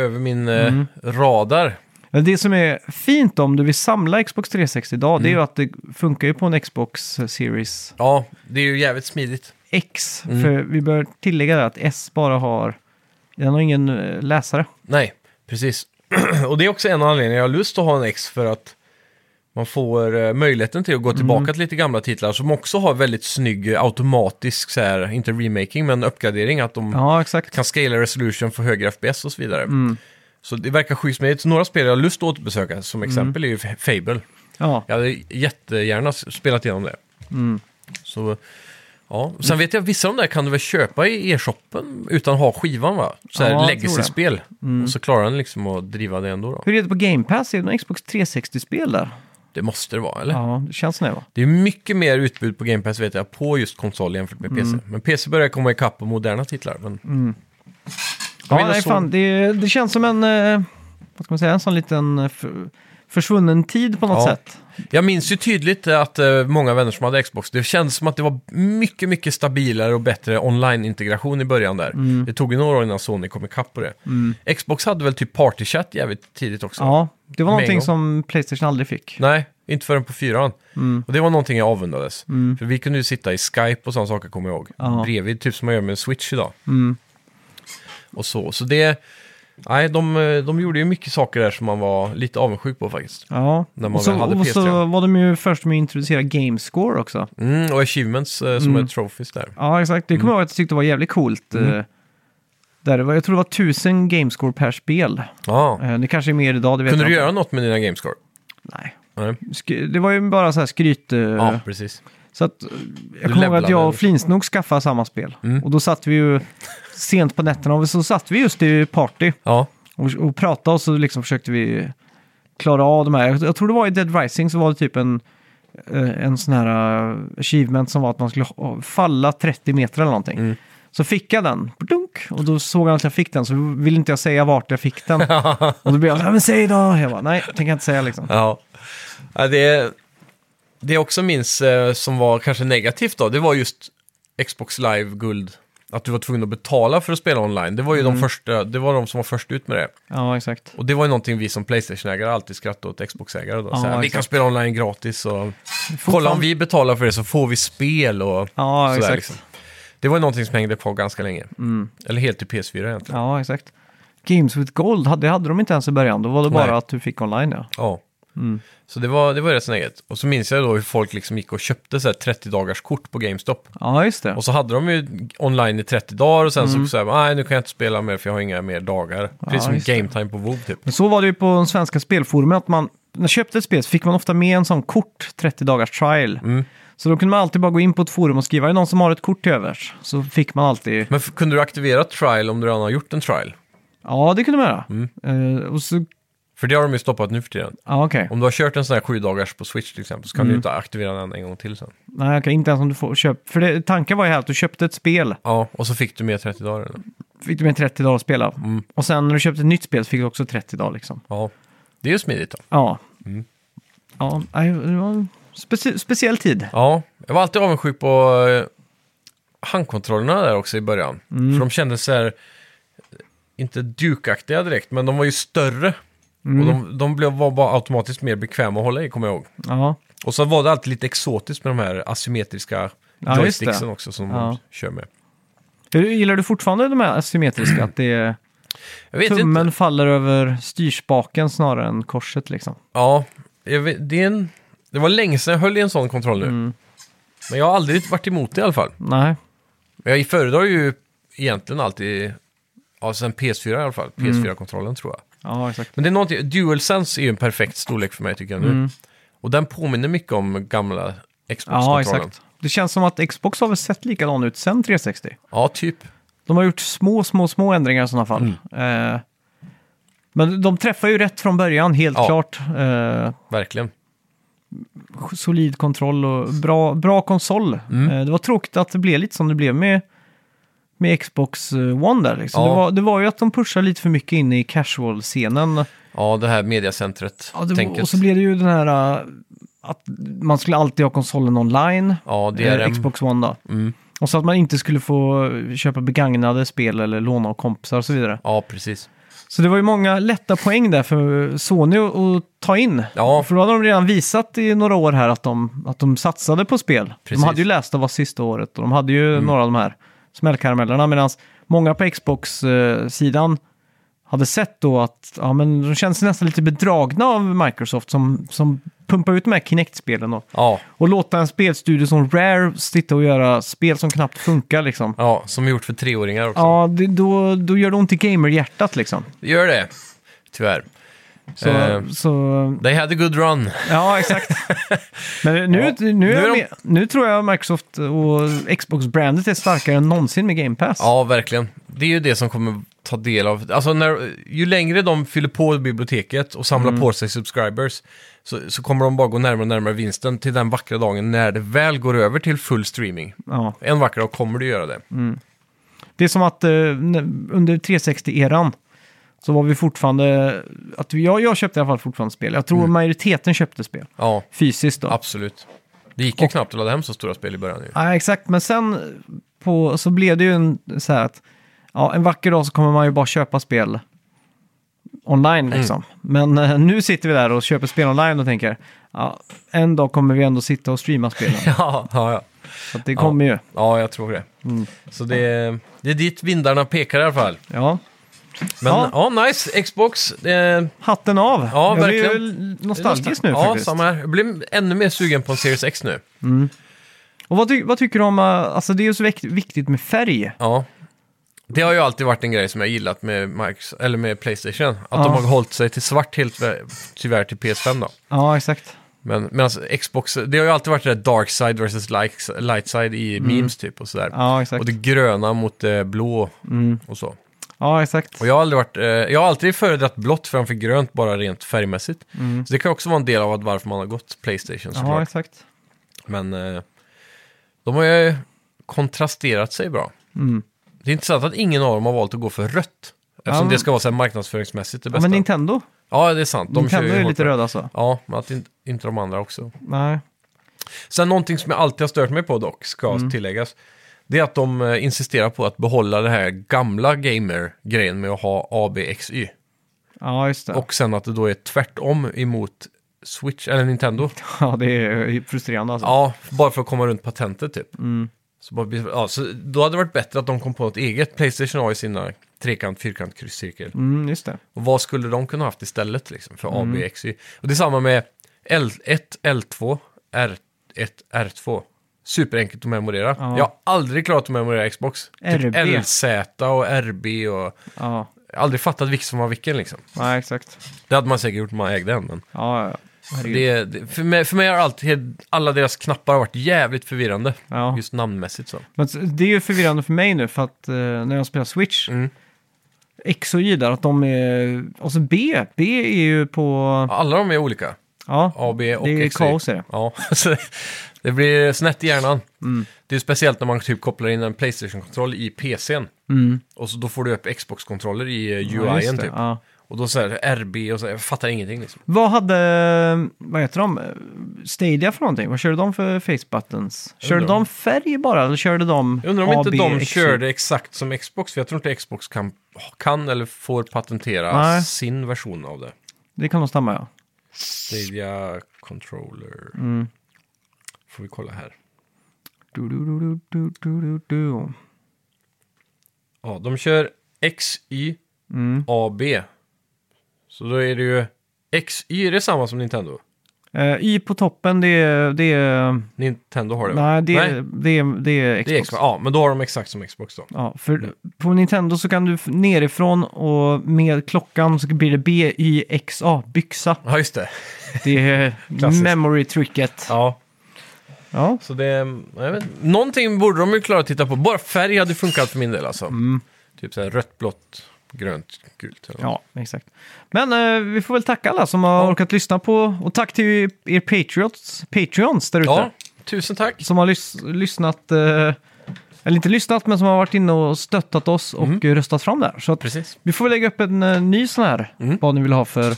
över min eh,
Mm.
radar.
Men Det som är fint om du vill samla Xbox 360 idag, det är
Mm.
ju att det funkar ju på en Xbox Series
Ja, det är ju jävligt smidigt.
X.
Mm.
För vi bör tillägga där att S bara har, den har ingen eh, läsare.
Nej, precis. och det är också en anledning jag har lust att ha en X för att man får eh, möjligheten till att gå tillbaka
Mm.
till lite gamla titlar som också har väldigt snygg eh, automatisk, så här, inte remaking, men uppgradering. Att de
Ja, exakt.
kan scala resolution för högre FPS och så vidare.
Mm.
Så det verkar skysmidigt. Så Några spel jag har lust att återbesöka, som
Mm.
exempel, är ju F- Fable.
Ja.
Jag hade jättegärna s- spelat igenom det.
Mm.
Så, ja. Sen vet jag, vissa av de där kan du väl köpa i e-shoppen utan att ha skivan va? Så här
Ja, jag tror Mm.
legacy-spel. Och så klarar den liksom att driva det ändå då.
Hur är det på Game Pass? Är det några Xbox 360-spel där?
Det måste det vara, eller?
Ja, det känns som det va?
Det är mycket mer utbud på Game Pass vet jag på just konsol jämfört med
Mm.
PC. Men PC börjar komma ikapp på moderna titlar. Men... Jag
Ja,
menar
nej,
så-
fan, det, det känns som en, eh, vad ska man säga, en sån liten eh, för, försvunnen tid på något
Ja.
sätt.
Jag minns ju tydligt att eh, många vänner som hade Xbox, det kändes som att det var mycket, mycket stabilare och bättre online-integration i början där.
Mm.
Det tog ju några år innan Sony kom ikapp på det. Xbox hade väl typ partychatt jävligt tidigt också?
Ja, det var
Med en
någonting
gång.
som Playstation aldrig fick.
Nej, inte förrän på fyran.
Mm.
Och det var någonting jag avundades. För vi kunde ju sitta i Skype och sådana saker, kommer jag ihåg.
Ja. Mm.
Bredvid, typ som man gör med Switch idag. Och så, så det... Nej, de, eh, de gjorde ju mycket saker där som man var lite avundsjuk på faktiskt.
Ja,
När man
och så,
väl hade
och så
PS3.
var de ju först med att introducera Gamescore också.
Mm, och Achievements eh,
Mm.
som är trophies där.
Ja, exakt. Det
Mm.
kommer jag ihåg att jag tyckte var jävligt coolt. eh, Där det var, jag tror det var 1000 Gamescore per spel.
Ja.
Eh, Det kanske är mer idag, det vet
Kunde
jag
du
inte.
göra något med dina gamescore?
Nej.
Nej.
Sk- Det var ju bara så här skryt... eh,
Ja, precis.
Så att, eh, jag kommer ihåg
levlade Mm.
att jag
eller
och
så.
Flinsnog skaffade samma spel. Och då satt vi ju sent på nätterna och så satt vi just i party
Ja,
och, och pratade och så liksom försökte vi klara av de här. Jag, jag tror det var i Dead Rising så var det typ en, eh, en sån här eh, achievement som var att man skulle ha- falla 30 meter eller någonting.
Mm.
Så fick jag den, dunk, och då såg han att jag fick den så ville inte jag säga vart jag fick den. och då blev jag, "Ja, men säg då! Jag bara, nej, tänker jag inte säga liksom.
ja. ja det, det jag också minns eh, som var kanske negativt då, det var just Xbox Live Guld. Att du var tvungen att betala för att spela online. Det var ju
Mm.
de första, det var de som var först ut med det.
Ja, exakt.
Och det var ju någonting vi som Playstation-ägare alltid skrattade åt Xbox-ägare då.
Ja,
så här, vi
exakt.
kan spela online gratis och kolla om vi betalar för det så får vi spel och
Ja,
sådär
exakt. Mm.
liksom. Det var ju någonting som hängde kvar ganska länge. Eller helt till PS4 egentligen.
Ja, exakt. Games with Gold, hade- det hade de inte ens i början. Då var det bara
Nej.
att du fick online, ja.
Ja. Så det var, det var rätt snäget. Och så minns jag då hur folk liksom gick och köpte så här 30 dagars kort på GameStop.
Ja, just det.
Och så hade de ju online i 30 dagar och sen så sa jag, nej nu kan jag inte spela mer för jag har inga mer dagar. Precis
Mm. just
som
det.
game time på WoW typ.
Men så var det ju på de svenska spelforumen, att man, när man köpte ett spel så fick man ofta med en sån kort, 30 dagars trial.
Mm.
Så då kunde man alltid bara gå in på ett forum och skriva, är det någon som har ett kort till övers? Så fick man alltid,
Men f- kunde du aktivera trial om du redan har gjort en trial?
ja det kunde man göra.
Mm.
Eh, och så,
För det har de ju stoppat nu för tiden.
ja okej.
Om du har kört en sån här 7 dagars på Switch till exempel så
Mm.
kan du ju inte aktivera den en gång till sen.
Nej okej, inte ens om du får köp. För det, tanken var ju här att du köpte ett spel,
Ja, och så fick du mer 30 dagar. Eller?
fick du med 30 dagar att spela.
Mm.
Och sen när du köpte ett nytt spel så fick du också 30 dagar liksom.
Ja, det är ju smidigt då.
Ja.
Mm.
Ja, nej, det var en speci- speciell tid.
Ja, jag var alltid avundsjuk på eh, handkontrollerna där också i början.
Mm.
För de kändes så här, eh, inte dukaktiga direkt, men de var ju större.
Mm.
Och de, de blev, var bara automatiskt mer bekväma att hålla i, kommer jag ihåg.
Ja.
Och så var det alltid lite exotiskt med de här asymmetriska
Ja, just det.
joysticksen också som de
Ja.
kör med.
Hur, gillar du fortfarande de här asymmetriska? Att det är...
Jag vet
Tummen
inte.
faller över styrspaken snarare än korset liksom.
Ja, jag vet, det, är en, det var länge sedan jag höll i en sån kontroll nu.
Mm.
Men jag har aldrig varit emot det i alla fall.
Nej,
Men jag föredrar ju egentligen alltid, ja, sen PS4 i alla fall,
Mm.
PS4-kontrollen tror jag.
ja exakt.
Men det är någonting, DualSense är ju en perfekt storlek för mig tycker jag nu.
Mm.
Och den påminner mycket om gamla
Ja,
Xbox-kontrollen.
exakt. Det känns som att Xbox har väl sett likadan ut sen 360.
Ja, typ.
De har gjort små, små, små ändringar i sådana fall.
Mm.
Eh, men de träffar ju rätt från början, helt
Ja.
klart. Eh,
Verkligen.
solid kontroll och bra, bra konsol. Eh, det var tråkigt att det blev lite som det blev med, med Xbox eh, One där. Liksom.
Ja.
Det, var, det var ju att de pushade lite för mycket in i casual-scenen.
Ja, det här mediacentret
Ja, det,
tänket.
och så blev det ju den här äh, att man skulle alltid ha konsolen online,
Ja, det är
eh,
en-
Xbox One då.
Mm.
Och så att man inte skulle få eh, köpa begagnade spel eller låna av kompisar och så vidare.
Ja, precis.
Så det var ju många lätta poäng där för Sony att- att ta in.
Ja.
För då hade de redan visat i några år här att de, att de satsade på spel.
Precis. Mm.
De hade ju läst av vad sista året och de hade ju några av de här smällkaramellerna. Medan många på Xbox-sidan hade sett då att ja, men de känns nästan lite bedragna av Microsoft som, som pumpar ut de här Kinect-spelen. Och,
Ja,
och låta en spelstudio som Rare sitta och göra spel som knappt funkar liksom.
ja som är gjort för treåringar också.
Ja, det, då, då gör det ont i gamerhjärtat liksom.
Det gör det, tyvärr.
Så,
Eh.
så
They had a good run.
Ja, exakt. Men nu, nu,
Nu är
är
de-
jag med, nu tror jag Microsoft och Xbox-brandet är starkare än någonsin med Game Pass.
Ja, verkligen. Det är ju det som kommer ta del av... Alltså, när, ju längre de fyller på biblioteket och samlar
Mm.
på sig subscribers så, så kommer de bara gå närmare och närmare vinsten till den vackra dagen när det väl går över till full streaming.
Ja.
En vacker dag kommer du göra det.
Mm. Det är som att eh, n- under 360-eran så var vi fortfarande... Att vi, jag, jag köpte i alla fall fortfarande spel. Jag tror
Mm.
majoriteten köpte spel.
Ja,
Fysiskt då.
absolut. Det gick ju knappt att ladda hem så stora spel i början ju.
Ja, exakt. Men sen på, så blev det ju en, så här att ja, en vacker dag så kommer man ju bara köpa spel online
Mm.
liksom. Men eh, nu sitter vi där och köper spel online och tänker ja, en dag kommer vi ändå sitta och streama spelen.
Ja, ja, ja.
så att det kommer ju.
ja jag tror det.
Mm.
Så det, det är dit vindarna pekar i alla fall.
Ja,
Men ja,
Ja.
nice. Xbox. Eh,
hatten av.
Ja,
jag blir
verkligen.
ju nostalgisk nu
ja,
faktiskt.
samma här. Jag blir ännu mer sugen på en Series X nu.
Och vad, ty- vad tycker du om, eh, alltså det är ju så vikt- viktigt med färg.
Ja. Det har ju alltid varit en grej som jag gillat med, Max, eller med Playstation. Att
Ja.
de har hållit sig till svart helt, vä- tyvärr till PS5 då.
Ja, exakt.
Men medan Xbox, det har ju alltid varit det där dark side versus light, light side i memes typ och sådär.
Mm. Ja, exakt. Mm.
och det gröna mot det blå och så.
Ja, exakt.
Och jag har aldrig varit, eh, jag har alltid föredragit blått framför grönt bara rent färgmässigt.
Mm.
Så det kan också vara en del av att varför man har gått Playstation såklart.
Ja, exakt.
Men eh, de har ju kontrasterat sig bra.
Mm.
Det är intressant att ingen av dem har valt att gå för rött. Eftersom
men-
det ska vara så här marknadsföringsmässigt det
Ja,
bästa.
men Nintendo,
Ja, det är sant. De
Nintendo
kör ju
är
hårt
lite
på det.
röda alltså.
Ja, men att in, inte de andra också.
Nej.
Sen någonting som jag alltid har stört mig på dock, ska
Mm.
tilläggas. Det är att de eh, insisterar på att behålla det här gamla gamer-grejen med att ha ABXY.
Ja, just det.
Och sen att det då är tvärtom emot Switch, eller Nintendo.
Ja, det är ju frustrerande alltså.
Ja, bara för att komma runt
Mm.
patentet typ. Så, bara, ja, så då hade det varit bättre att de kom på något eget. Playstation har ju sina trekant, fyrkant, krysscirkel.
Mm, just det.
Och vad skulle de kunna haft istället liksom, för A,
Mm.
B, X, Y? Och det är samma med L1, L2, R1, R2. Superenkelt att memorera.
Ja.
Jag har aldrig klarat att memorera Xbox.
RB.
Typ LZ och RB och...
Ja,
Jag har aldrig fattat vilken som var vilken liksom.
ja exakt.
Det hade man säkert gjort om man ägde en, men...
Ja, ja, ja. Herregud.
Det, det, för, mig, för mig har allt, helt- alla deras knappar varit jävligt förvirrande.
Ja.
Just namnmässigt så.
Men s- det är ju förvirrande för mig nu för att eh, när jag spelar Switch,
Mm.
X och Y där, att de är... Och så B, B är ju på... Ja,
Alla de är olika. A, B och
det är ju
X, Y.
kaos är det.
Ja, så det blir snett i hjärnan.
Mm.
Det är speciellt när man typ kopplar in en Playstation-kontroll i PCn.
Mm.
Och så då får du upp Xbox-kontroller i eh,
Ja,
UI'n
just det,
typ.
ja.
Och då så här RB och så, jag fattar ingenting liksom.
Vad hade, vad heter de, Stadia för någonting? Vad körde de för face buttons? Körde
Undrar.
de färg bara eller körde de
Jag undrar om
A,
inte
B,
de
X, Y?
körde exakt som Xbox, för jag tror inte Xbox kan, kan eller får patentera
Nej.
sin version av det.
Det kan nog stämma ja.
Stadia Controller.
Mm.
Får vi kolla här.
Du, du, du, du, du, du, du, du.
Ja, de kör XY
Mm.
AB. Så då är det ju... XY är det samma som Nintendo?
Eh, y på toppen det är, det är,
Nintendo har det va?
nej, det är, det är, det är
det är
Xbox.
Xbox. Ja, men då har de exakt som Xbox då.
Ja, för på Nintendo så kan du f- nerifrån och med klockan så blir det B, Y, X, A, byxa.
Ja, just det.
Det är
Klassiskt.
memory tricket. Ja.
Ja,
Ja.
så det... Jag vet, inte. någonting borde de ju klara att titta på. Bara färg hade funkat för min del alltså.
Mm.
Typ så här rött, blått, grönt, gult. Eller något.
exakt. Men eh, vi får väl tacka alla som har orkat lyssna på och tack till er Patriots, Patreons där ute.
ja, tusen tack.
Som har lys- lyssnat, eh, eller inte lyssnat, men som har varit inne och stöttat oss och
Mm.
eh, röstat fram där. Så att
Precis.
Vi får väl lägga upp en eh, ny sån här,
Mm.
vad ni vill ha för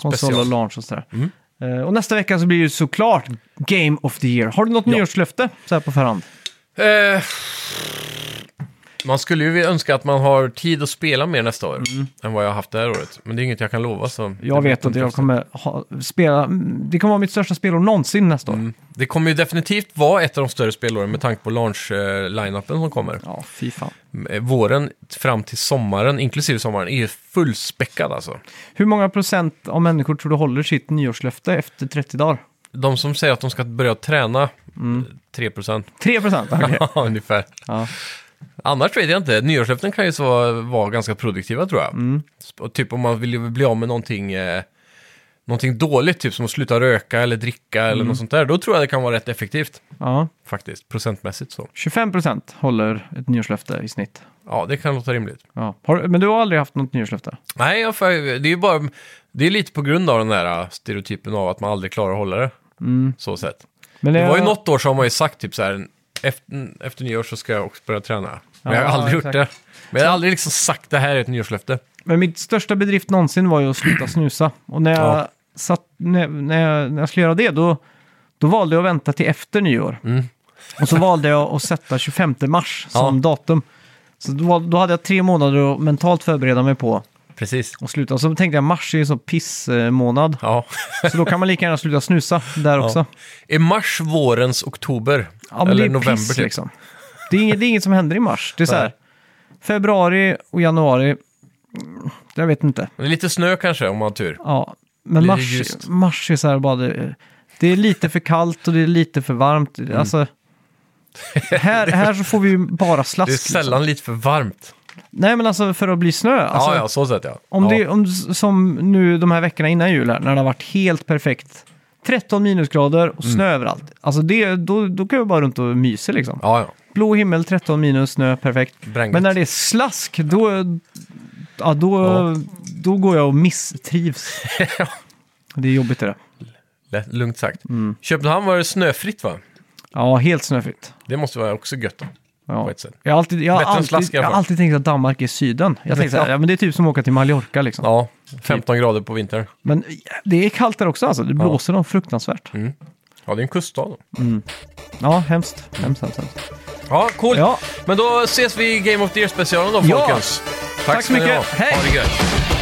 konsol och
Special.
launch och sådär.
Mm.
Eh, och nästa vecka så blir det såklart Game of the Year. Har du något nyårslöfte så här på förhand?
Eh, man skulle ju önska att man har tid att spela mer nästa år än vad jag har haft det här året. Men det är inget jag kan lova. Så
Mm. Jag vet att jag kommer ha, spela, mm, det kommer vara mitt största spelår någonsin nästa år.
Det kommer ju definitivt vara ett av de större spelåren med tanke på launch-lineupen som kommer.
Ja, fy fan.
Eh, Våren fram till sommaren, inklusive sommaren, är ju fullspäckad alltså.
Hur många procent av människor tror du håller sitt nyårslöfte efter 30 dagar?
De som säger att de ska börja träna, mm. 3%
3 procent? Okej.
ungefär.
Ja.
Annars vet jag inte. Nyårslöften kan ju så vara ganska produktiva tror jag. Sp- och Typ om man vill bli av med någonting, eh, någonting dåligt, typ som att sluta röka eller dricka eller något sånt där. Då tror jag det kan vara rätt effektivt
ja.
faktiskt, procentmässigt så.
25 procent håller ett nyårslöfte i snitt.
Ja, det kan låta rimligt.
Ja. Har, men du har aldrig haft något nyårslöfte?
Nej, jag, får- det är ju bara, det är lite på grund av den där stereotypen av att man aldrig klarar att hålla det. Så sett.
Men
Det var ju
jag-
något år som man ju sagt typ så här, efter, efter nyår så ska jag också börja träna. Men jag har
Ja,
aldrig gjort det.
exakt.
Men jag har aldrig liksom sagt det här är ett nyårslöfte.
Men mitt största bedrift någonsin var ju att sluta snusa. Och när jag,
Ja.
satt, när, när jag, när jag skulle göra det, då, då valde jag att vänta till efter nyår. Och så valde jag att sätta 25 mars som
Mm. Ja.
datum. Så då, var- då hade jag tre månader att mentalt förbereda mig på
Precis.
att sluta. Och så tänkte jag mars är ju en sån pissmånad.
Ja.
Så då kan man lika gärna sluta snusa där också.
Är mars vårens oktober?
Ja, men
Eller
det är
november
piss,
typ?
liksom. Det är, inget, det är inget som händer i mars. Det är så här,
Nej.
februari och januari, mm, jag vet inte.
Det är lite snö kanske om man har tur.
Ja, men
Blir det
mars,
ljust?
mars är så här bara... Det, det är lite för kallt och det är lite för varmt.
Mm.
Alltså, här, här så får vi ju bara slask.
Det är
liksom.
sällan lite för varmt.
Nej, men alltså för att bli snö. Alltså,
ja, ja, så sett ja.
Om
ja.
det, om, som nu de här veckorna innan jul här, när det har varit helt perfekt. 13 minusgrader och snö
Mm.
överallt. Alltså det, då, då kan vi bara runt och mysa liksom.
Ja, ja.
Blå himmel, 13 minus, snö, perfekt.
Bränget.
Men när det är slask, då, ja, då,
Ja.
då går jag och misstrivs. Det är jobbigt det där.
Lätt, lugnt sagt.
Mm.
Köpenhamn var det snöfritt va?
Ja, helt snöfritt.
Det måste vara också gött då.
Ja.
På ett sätt.
Jag har alltid, jag har
Bättre än
alltid,
slask i
jag
alla
har
fall.
alltid tänkt att Danmark är syden. Jag tänkte så här,
Ja.
ja, men det är typ som att åka till Mallorca liksom.
Ja, 15 grader på vintern.
Men det är kallt där också alltså. Det blåser dem fruktansvärt.
Mm. Ja, det är en kuststad då.
Ja, hemskt. Hemskt, hemskt, hemskt.
Ja, coolt.
Ja.
Men då ses vi i Game of the Year-specialen då,
Ja.
folkens.
Tack så mycket.
Hej!
Hej.
Ha det gött.